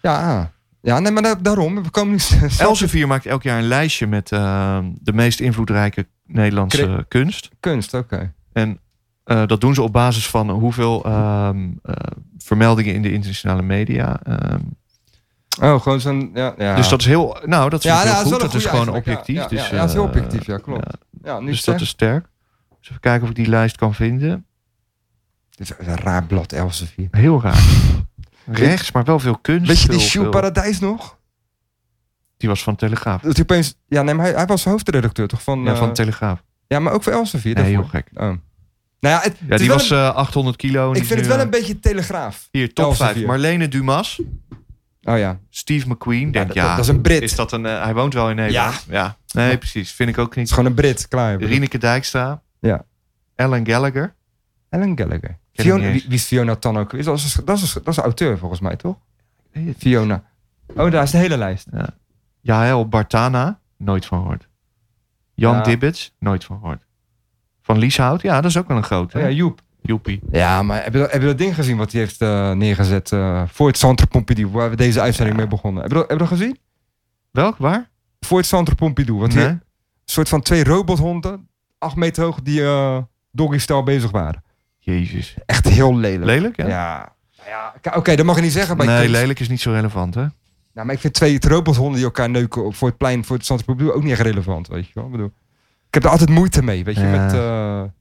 S2: Ja, ah. ja nee, maar da- daarom. We komen nu straks-
S1: Elsevier maakt elk jaar een lijstje met eh, de meest invloedrijke Nederlandse
S2: Cre-
S1: kunst.
S2: kunst. Oké.
S1: En eh, dat doen ze op basis van hoeveel ehm, eh, vermeldingen in de internationale media. ehm.
S2: Oh, gewoon zo'n. Ja, ja.
S1: Dus dat is heel. Nou, dat is
S2: ja,
S1: heel
S2: ja,
S1: goed.
S2: wel een
S1: Dat is
S2: goede
S1: gewoon
S2: eigenlijk, ja.
S1: objectief.
S2: Ja,
S1: dus,
S2: ja, ja, dat is heel
S1: eh,
S2: objectief. Ja, klopt. Ja, nu
S1: dus
S2: ik het
S1: dat is sterk. Dus even kijken of ik die lijst kan vinden.
S2: zeg. Dit is een raar blad, Elsevier.
S1: Heel raar. Rechts, maar wel veel kunst.
S2: Weet je die
S1: veel-
S2: Shoe
S1: veel-
S2: Paradijs nog?
S1: Die was van Telegraaf.
S2: dat hij opeens... Ja, nee, maar hij, hij was hoofdredacteur toch? Van,
S1: Ja,
S2: eh,
S1: van Telegraaf.
S2: ja maar ook voor Elsevier.
S1: Nee,
S2: daarvoor.
S1: heel gek.
S2: Oh. Nou ja, het, het
S1: Ja,
S2: is
S1: die
S2: wel
S1: was
S2: een-
S1: eh, 800 kilo. en die
S2: ik
S1: is
S2: vind het
S1: nu,
S2: wel
S1: eh,
S2: een beetje telegraaf.
S1: Hier, top
S2: Elsevier.
S1: 5. Marlene Dumas.
S2: Oh ja,
S1: Steve McQueen. Denk,
S2: dat,
S1: ja,
S2: dat is een Brit.
S1: Is dat een, eh, hij woont wel in Nederland. Ja. Nee, precies. Vind ik ook
S2: Het is
S1: niet.
S2: gewoon een Brit, klaar.
S1: Rieneke Dijkstra.
S2: Ja.
S1: Ellen Gallagher.
S2: Ellen Gallagher.
S1: hem
S2: Fiona-
S1: niet eens.
S2: wie, wie is Fiona Tan ook? weer? Dat is, dat, is, dat is een auteur volgens mij, toch?
S1: Nee, het-
S2: Fiona. Oh, daar is de hele lijst.
S1: Jael Bartana. Nooit van gehoord. Jan
S2: Ja.
S1: Dibbets. Nooit van gehoord. Van Lieshout. Ja, dat is ook wel een grote.
S2: Oh ja,
S1: hè?
S2: Joep.
S1: Joepie.
S2: Ja, maar heb je, dat- heb je dat ding gezien wat hij heeft eh, neergezet eh, voor het Centre Pompidou, waar we deze uitzending
S1: Ja.
S2: mee begonnen? Heb je, dat, heb je dat gezien?
S1: Welk? Waar?
S2: Voor het Centre Pompidou. Want
S1: Nee.
S2: hij, een soort van twee robothonden, acht meter hoog, die eh doggy-style bezig waren.
S1: Jezus.
S2: Echt heel lelijk.
S1: Lelijk,
S2: Ja.
S1: ja?
S2: Nou ja, k- Oké, dat mag je niet zeggen. Maar,
S1: Nee,
S2: kunst.
S1: lelijk is niet zo relevant, hè?
S2: Nou, maar ik vind twee robothonden die elkaar neuken op voor het plein, voor het standpunt, ook niet echt relevant. Weet je wel? Ik, bedoel, ik heb er altijd moeite mee. Weet je,
S1: Ja.
S2: met. eh,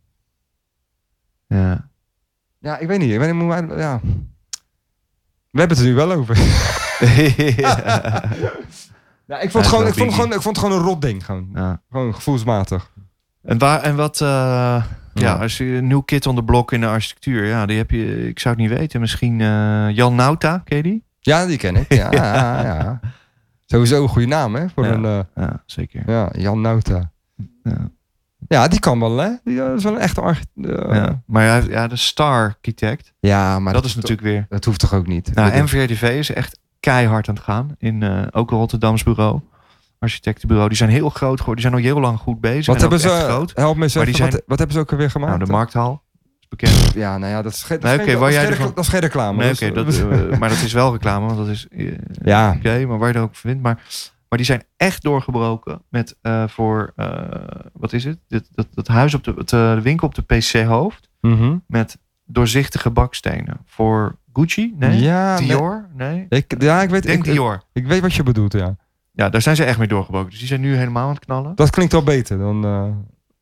S1: Ja.
S2: ja, ik weet niet. Ik weet niet hoe wij- ja. We hebben het er nu wel over. Ja, ik, vond
S1: Ja,
S2: het gewoon,
S1: wel
S2: ik, vond het
S1: biggie.
S2: gewoon, ik vond het gewoon een rot ding. Gewoon,
S1: Ja.
S2: gewoon gevoelsmatig.
S1: En, waar, en wat... eh, Ja, als je een nieuw kid on the block in de architectuur, ja, die heb je, ik zou het niet weten. Misschien eh, Jan Nauta, ken je die?
S2: Ja, die ken ik. Ja, ja. ja. Sowieso een goede naam, hè? Voor
S1: Ja.
S2: een eh,
S1: Ja, zeker.
S2: ja, Jan Nauta.
S1: Ja.
S2: Ja. die kan wel, hè? Die eh, is wel een echte architect. ja.
S1: Ja. Oh. Maar hij heeft- ja, de star-architect,
S2: maar
S1: dat, is natuurlijk weer...
S2: Dat hoeft toch ook niet? Ik
S1: Nou,
S2: bedoel-
S1: NVRTV is echt keihard aan het gaan. In eh, ook een Rotterdams bureau. Architectenbureau. Die zijn heel groot geworden. Die zijn al heel lang goed bezig.
S2: wat
S1: en ook
S2: hebben ze?
S1: echt groot.
S2: Help me eens
S1: Maar die
S2: even, wat, wat hebben ze ook alweer gemaakt? Ah,
S1: Nou, de Markthal is bekend.
S2: Ja, nou ja, dat is, ge- dat is
S1: Nee,
S2: geen,
S1: oké, waar
S2: dat, is
S1: jij
S2: geen
S1: ervan-
S2: recla- dat is geen reclame.
S1: Nee,
S2: dat is-
S1: oké, dat, eh, maar dat is wel reclame. Want dat is... eh,
S2: ja,
S1: Oké, maar waar je er ook van vindt. Maar, maar die zijn echt doorgebroken met eh, voor... eh, wat is het? Dit, dat, dat huis op de, het, eh, de winkel op de PC-hoofd.
S2: Mhm.
S1: Met doorzichtige bakstenen. Voor Gucci? Nee.
S2: ja, nee.
S1: Dior? Nee.
S2: Ik, ja, ik weet,
S1: Ah, Ik denk
S2: ik,
S1: Dior.
S2: ik weet wat je bedoelt, ja.
S1: Ja, daar zijn ze echt mee doorgebroken. Dus die zijn nu helemaal aan het knallen.
S2: Dat klinkt wel beter dan, eh,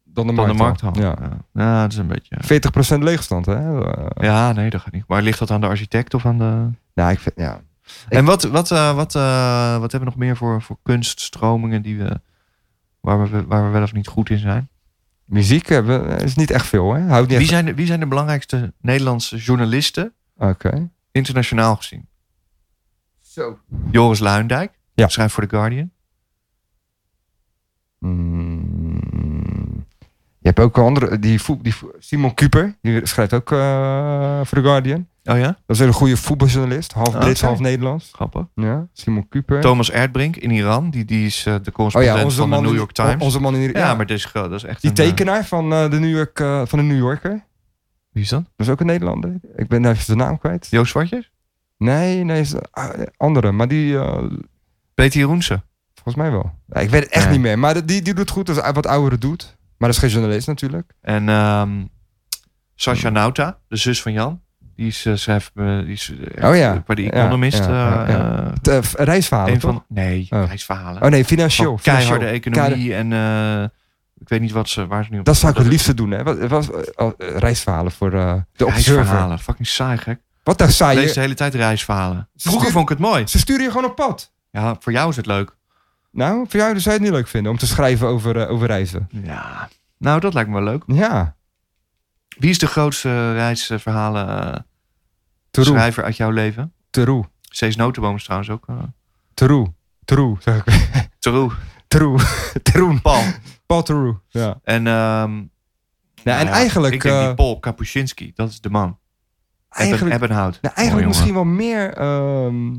S2: dan de
S1: Van de
S2: markt.
S1: markt had.
S2: Ja.
S1: Ja. ja, dat is een beetje...
S2: 40% leegstand, hè? Eh,
S1: Ja, nee, dat gaat niet. Maar ligt dat aan de architect of aan de...
S2: nou, ik vind, ja.
S1: En wat, wat, eh, wat, eh, wat hebben we nog meer voor, voor kunststromingen die we, waar we... waar we wel of niet goed in zijn?
S2: Muziek hebben, eh, is niet echt veel, hè? Houdt niet
S1: Wie
S2: echt...
S1: zijn, de, wie zijn de belangrijkste Nederlandse journalisten
S2: Oké.
S1: internationaal gezien?
S2: Zo.
S1: Joris Luindijk,
S2: Ja.
S1: schrijft voor The Guardian.
S2: Mm. Je hebt ook andere, die, voet- die voet- Simon Kuper, die schrijft ook eh, voor The Guardian.
S1: Oh ja?
S2: Dat is een hele goede voetbaljournalist, half
S1: Ah,
S2: Brits,
S1: oké.
S2: half Nederlands.
S1: Grappig.
S2: Ja, Simon Kuper.
S1: Thomas Erdbrink in Iran, die, die is eh, de
S2: oh
S1: correspondent
S2: ja, onze
S1: van de
S2: man
S1: New
S2: in-
S1: York Times.
S2: Onze man in ja,
S1: ja, maar dat is, gro- dat is echt
S2: die
S1: een, eh,
S2: tekenaar van, eh, de New York, eh, van de New Yorker.
S1: Wie is dat?
S2: Dat is ook een Nederlander. Ik ben even zijn naam kwijt.
S1: Joost Zwartjes?
S2: Nee, nee, is, ah, andere. Maar die, eh,
S1: Peter Jeroense.
S2: volgens mij wel. Ja, ik weet het echt
S1: Nee.
S2: niet meer. Maar dat- die, die doet goed, dat is wat oudere doet. Maar dat is geen journalist natuurlijk.
S1: En ehm Sasha Nauta, de zus van Jan. Die is, eh, schrijft, eh, die is eh,
S2: Oh ja.
S1: bij de
S2: Ja,
S1: Economist.
S2: ja, ja,
S1: eh,
S2: ja.
S1: eh,
S2: Het, eh, v- reisverhalen,
S1: een
S2: toch?
S1: van, nee,
S2: Oh.
S1: reisverhalen.
S2: Oh nee, financieel.
S1: Van
S2: financieel.
S1: keiharde economie en eh, ik weet niet wat ze, waar ze nu op
S2: Dat zou ik het liefste doen, hè? Wat, wat, eh, oh, eh, reisverhalen voor eh, de Observer.
S1: Reisverhalen, fucking saai gek.
S2: Wat daar
S1: Ik
S2: saai.
S1: lees de
S2: je-
S1: hele tijd reisverhalen.
S2: Ze
S1: Vroeger
S2: sturen-
S1: vond ik het mooi.
S2: Ze sturen je gewoon op pad.
S1: Ja, voor jou is het leuk.
S2: Nou, voor jou zou je het niet leuk vinden om te schrijven over, eh, over reizen.
S1: Ja. Nou, dat lijkt me wel leuk.
S2: Ja,
S1: Wie is de grootste reisverhalen eh,
S2: Teroe.
S1: schrijver uit jouw leven?
S2: Teroe.
S1: Cees Notenboom is trouwens ook. eh
S2: Teroe. Teroe, zeg ik.
S1: Teroe.
S2: Teroe. Teroen.
S1: Paul.
S2: Paul Teroe. Ja.
S1: En, ehm,
S2: Nou, en
S1: ja,
S2: eigenlijk...
S1: Ik denk
S2: eh,
S1: die Paul Kapuscinski, dat is de man. Eigenlijk,
S2: eigenlijk,
S1: Ebbenhout.
S2: nou, eigenlijk
S1: Mooi,
S2: misschien wel meer ehm,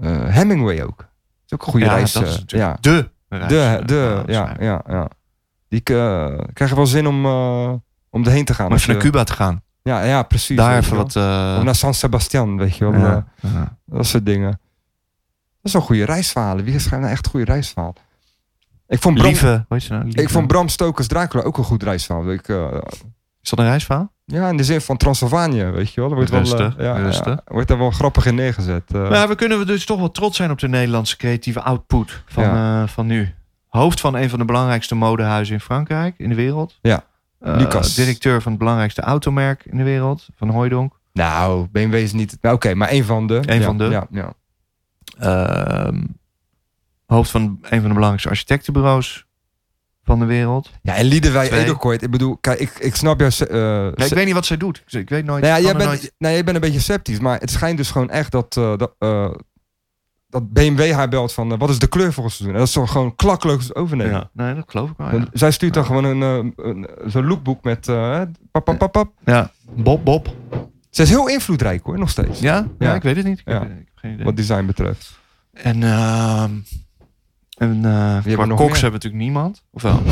S2: eh, Hemingway ook. Dat is ook een goede
S1: ja,
S2: reis.
S1: dat is
S2: eh,
S1: natuurlijk
S2: ja.
S1: de
S2: De,
S1: reis-
S2: de,
S1: eh,
S2: ja,
S1: schrijver.
S2: ja, ja. Die eh, krijgen wel zin om, eh, om erheen te gaan.
S1: Om
S2: Als
S1: even naar
S2: je-
S1: Cuba te gaan.
S2: Ja, ja, eh, precies.
S1: Daar
S2: weet
S1: even
S2: je
S1: wat...
S2: wel.
S1: eh,
S2: Of naar San Sebastian, weet je wel. eh,
S1: ja, ja.
S2: dat soort dingen. Dat is wel goede reisverhalen. Wie schrijft nou echt goede reisverhalen? Ik vond Bram,
S1: Lieve, hoe heet ze nou? Lieve.
S2: ik vond Bram Stokers Dracula ook een goed reisverhaal. Ik, eh,
S1: Is dat een reisverhaal?
S2: ja, in de zin van Transylvanië, weet je wel. Er wordt wel,
S1: Rustig,
S2: eh, ja,
S1: rustig.
S2: ja, wordt daar wel grappig in neergezet. eh.
S1: Maar we kunnen dus toch wel trots zijn op de Nederlandse creatieve output van, eh, van nu. Hoofd van een van de belangrijkste modehuizen in Frankrijk, in de wereld.
S2: Ja.
S1: Eh,
S2: Lucas.
S1: Directeur van het belangrijkste automerk in de wereld, van Hooijdonk.
S2: nou, BMW is niet... Nou, Oké, maar één van de.
S1: Eén
S2: ja,
S1: van de.
S2: Ja, ja.
S1: Ehm, hoofd van een van de belangrijkste architectenbureaus van de wereld.
S2: ja, en Liedewij
S1: Twee.
S2: Edelkooit. Ik bedoel, kijk, ik, ik snap jou... eh,
S1: Ja, ik weet niet wat zij doet. Ik weet nooit.
S2: Nou ja,
S1: kan
S2: jij
S1: er
S2: bent,
S1: nooit-
S2: nou, jij bent een beetje sceptisch, maar het schijnt dus gewoon echt dat, eh, dat, eh, dat BMW haar belt van eh, wat is de kleur volgens seizoen? En dat is toch gewoon klakkeloos overnemen.
S1: Ja, nee, dat geloof ik wel.
S2: Want
S1: Ja.
S2: Zij stuurt dan gewoon een, eh, een- zo'n lookbook met eh, pap, pap, pap, pap.
S1: Ja. Bob, Bob.
S2: Ze is heel invloedrijk hoor, nog steeds.
S1: Ja? ja?
S2: Ja.
S1: ik weet het niet. Ik,
S2: Ja.
S1: heb, ik heb geen idee.
S2: Wat design betreft.
S1: En, ehm en eh
S2: hebben
S1: qua
S2: nog
S1: koks hebben
S2: meer?
S1: we natuurlijk niemand. Of wel?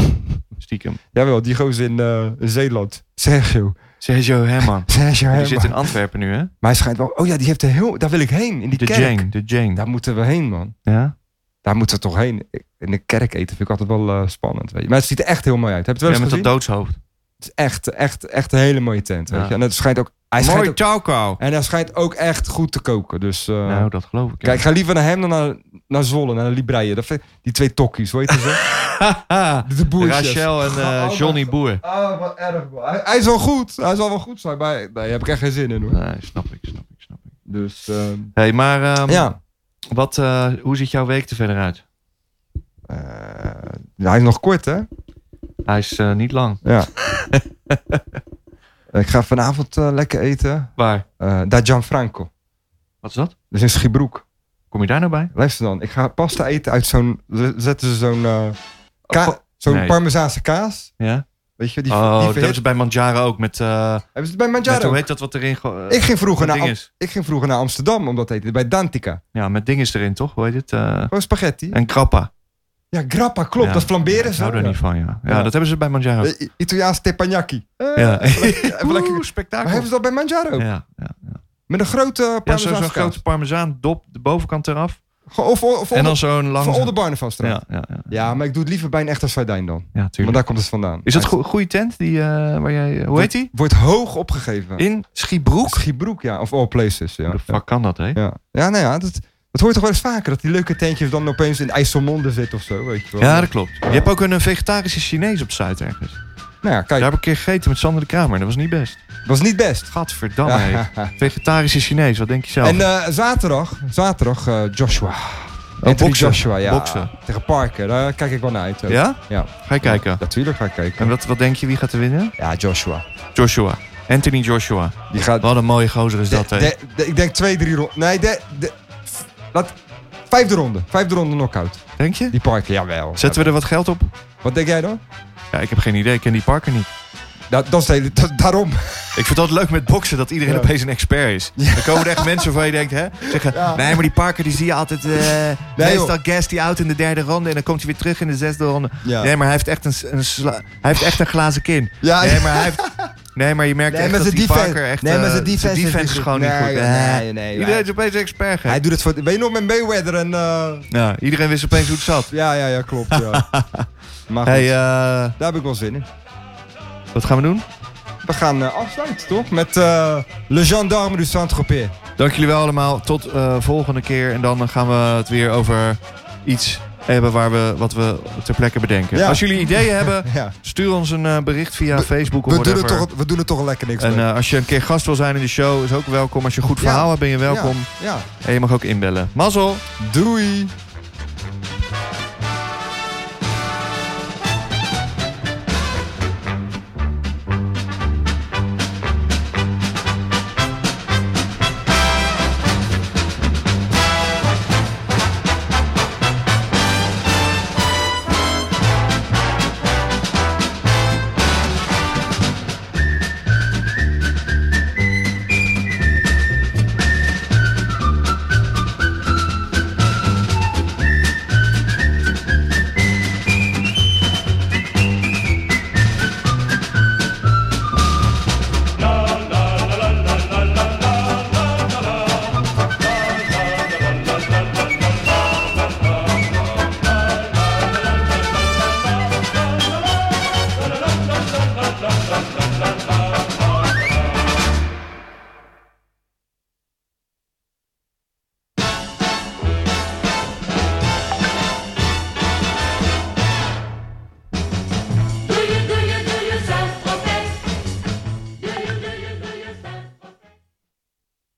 S1: Stiekem.
S2: Jawel, die gozer in eh, Zeeland. Sergio.
S1: Sergio Herman.
S2: Sergio
S1: Die
S2: Herman.
S1: zit in Antwerpen nu, hè?
S2: Maar hij schijnt wel... Oh ja, die heeft een heel... Daar wil ik heen, in die
S1: De
S2: kerk.
S1: Jane. De Jane.
S2: Daar moeten we heen, man.
S1: Ja?
S2: Daar moeten we toch heen. Ik- In een kerk eten vind ik altijd wel eh, spannend. Weet je. Maar het ziet er echt heel mooi uit. Heb je het wel
S1: ja,
S2: eens
S1: met dat
S2: gezien?
S1: doodshoofd.
S2: Het is echt, echt, echt een hele mooie tent. Weet
S1: Ja.
S2: je. En het schijnt ook. Hij schijnt
S1: Mooi
S2: ook,
S1: Tauko.
S2: en hij schijnt ook echt goed te koken. Dus eh,
S1: Nou, dat geloof ik. ja.
S2: kijk, ga liever naar hem dan naar, naar Zwolle, naar de Libreien. Dat vind- die twee tokkies, hoe heet dat? zo? de boertjes.
S1: Rachel en eh,
S2: Oh, wat-
S1: Johnny Boer.
S2: Ah, wat erg. man. Hij, hij is wel goed. Hij zal wel goed zijn, maar nee, daar heb ik echt geen zin in hoor.
S1: Nee, snap ik, snap ik, snap ik.
S2: Dus ehm,
S1: hey, maar ehm,
S2: ja.
S1: wat, eh, hoe ziet jouw week er verder uit?
S2: Eh, hij is nog kort, hè?
S1: Hij is eh, niet lang.
S2: Ja. ik ga vanavond eh, lekker eten.
S1: Waar?
S2: Eh da Gianfranco.
S1: Wat is dat?
S2: Dus in Schiebroek.
S1: Kom je daar nou bij?
S2: Luister dan, ik ga pasta eten uit zo'n... ze- Zetten ze zo'n... eh, ka-
S1: Oh,
S2: zo'n
S1: nee.
S2: parmezaanse kaas.
S1: Ja.
S2: Weet je, die,
S1: oh,
S2: die
S1: dat hebben
S2: verhit-
S1: ze bij Manjaro ook met... eh
S2: hebben ze het bij
S1: met
S2: Mangiaro.
S1: hoe
S2: ook?
S1: heet dat wat erin... ge- eh,
S2: ik, ging
S1: wat
S2: vroeger naar
S1: ding
S2: Am-
S1: is?
S2: ik ging vroeger naar Amsterdam om dat te eten. Bij Dantica.
S1: Ja, met ding is erin toch? Hoe heet het? Eh,
S2: Gewoon spaghetti.
S1: en krappa.
S2: Ja, grappa, klopt.
S1: Ja.
S2: Dat flamberen
S1: Ik
S2: ze.
S1: hou daar
S2: Ja.
S1: niet van, ja. ja.
S2: Ja.
S1: dat hebben ze bij Manjaro.
S2: Eh, I- Italiaans teppanyaki. Eh,
S1: Ja.
S2: even lekker- even lekker-
S1: Oeh,
S2: Maar
S1: spektakel.
S2: hebben ze dat bij Mangiaro?
S1: Ja, ja.
S2: Met een
S1: ja
S2: grote
S1: zo- zo'n
S2: parmezaanse kaas.
S1: grote parmezaan, dop, de bovenkant eraf.
S2: Gewoon- Of, of, of,
S1: en dan zo'n lange...
S2: van Oldenbarne vast.
S1: ja, ja, ja,
S2: Ja, maar ik doe het liever bij een echte Sardijn dan.
S1: ja,
S2: Want
S1: tuurlijk.
S2: daar komt het vandaan.
S1: Is dat
S2: Hij
S1: een go- goede tent? Die, eh, waar jij, hoe heet die?
S2: Wordt hoog opgegeven.
S1: In Schiebroek?
S2: Schiebroek, ja. Of all places, ja.
S1: Hoe de fuck kan dat, hè?
S2: Ja, ja nou ja, dat, dat hoort toch wel eens vaker. Dat die leuke tentjes dan opeens in IJsselmonde zitten of zo, weet je wel.
S1: Ja, dat klopt. Je hebt ook een eh, vegetarische Chinees op Zuid ergens.
S2: Nou ja,
S1: Daar
S2: kijk,
S1: heb ik een keer gegeten met Sander de Kramer. Dat was niet best.
S2: was niet best.
S1: Gadverdamme. hé. Vegetarische Chinees, wat denk je zelf?
S2: En eh, zaterdag, zaterdag eh, Joshua.
S1: Oh,
S2: Anthony
S1: boksen.
S2: Joshua, ja.
S1: Boksen.
S2: Tegen Parker, daar kijk ik wel naar uit. ook.
S1: ja?
S2: eh, Ja.
S1: Ga je kijken.
S2: Natuurlijk ga ik kijken.
S1: En wat, wat denk je, wie gaat er winnen?
S2: Ja, Joshua.
S1: Joshua. Anthony Joshua.
S2: Die gaat...
S1: Wat een mooie gozer is dat,
S2: de-
S1: hè?
S2: de- de- ik denk twee, drie ronden. Nee, de, de, laat, vijfde ronde. Vijfde ronde knockout.
S1: Denk je?
S2: Die Parker, jawel.
S1: Zetten we er wat geld op?
S2: Wat denk jij dan?
S1: Ja, ik heb geen idee. Ik ken die Parker niet.
S2: Dat, dat is de hele- dat- daarom.
S1: Ik vind het altijd leuk met boksen dat iedereen
S2: Ja.
S1: opeens een expert is. Dan komen er echt mensen waarvan je denkt, hè? Zeggen,
S2: Ja.
S1: nee, maar die Parker die zie je altijd... eh
S2: Nee,
S1: meestal gas die out in de derde ronde en dan komt hij weer terug in de zesde ronde.
S2: Ja.
S1: Nee, maar hij heeft echt een, s- een, sla- hij heeft echt een glazen kin.
S2: Ja,
S1: Nee, maar hij heeft... Nee, maar je merkt
S2: Nee,
S1: echt
S2: maar
S1: dat
S2: zijn
S1: die
S2: defense-
S1: Parker echt...
S2: nee, maar
S1: eh,
S2: zijn defense is niet
S1: is
S2: goed.
S1: gewoon niet
S2: Nee,
S1: goed.
S2: joh,
S1: Eh,
S2: nee, nee,
S1: iedereen
S2: hij-
S1: is opeens expert. gek.
S2: Hij doet het voor... Weet je nog met Mayweather en... eh,
S1: Ja, iedereen wist opeens hoe het zat.
S2: Ja, ja, ja, klopt. Ja. maar goed,
S1: hey, eh,
S2: daar heb ik wel zin in.
S1: wat gaan we doen?
S2: We gaan eh, afsluiten, toch? Met eh, Le Gendarme du Saint-Tropez.
S1: Dank jullie wel allemaal. Tot eh, volgende keer. En dan gaan we het weer over iets hebben waar we, wat we ter plekke bedenken.
S2: Ja.
S1: Als jullie ideeën hebben,
S2: Ja.
S1: stuur ons een eh, bericht via
S2: We-
S1: Facebook of
S2: We doen,
S1: whatever.
S2: er toch, we doen er toch lekker niks
S1: en
S2: mee.
S1: eh, als je een keer gast wil zijn in de show, is ook welkom. Als je een goed
S2: Ja.
S1: eh, verhaal hebt, ben je welkom.
S2: Ja, ja.
S1: En je mag ook inbellen. Mazzel!
S2: Doei!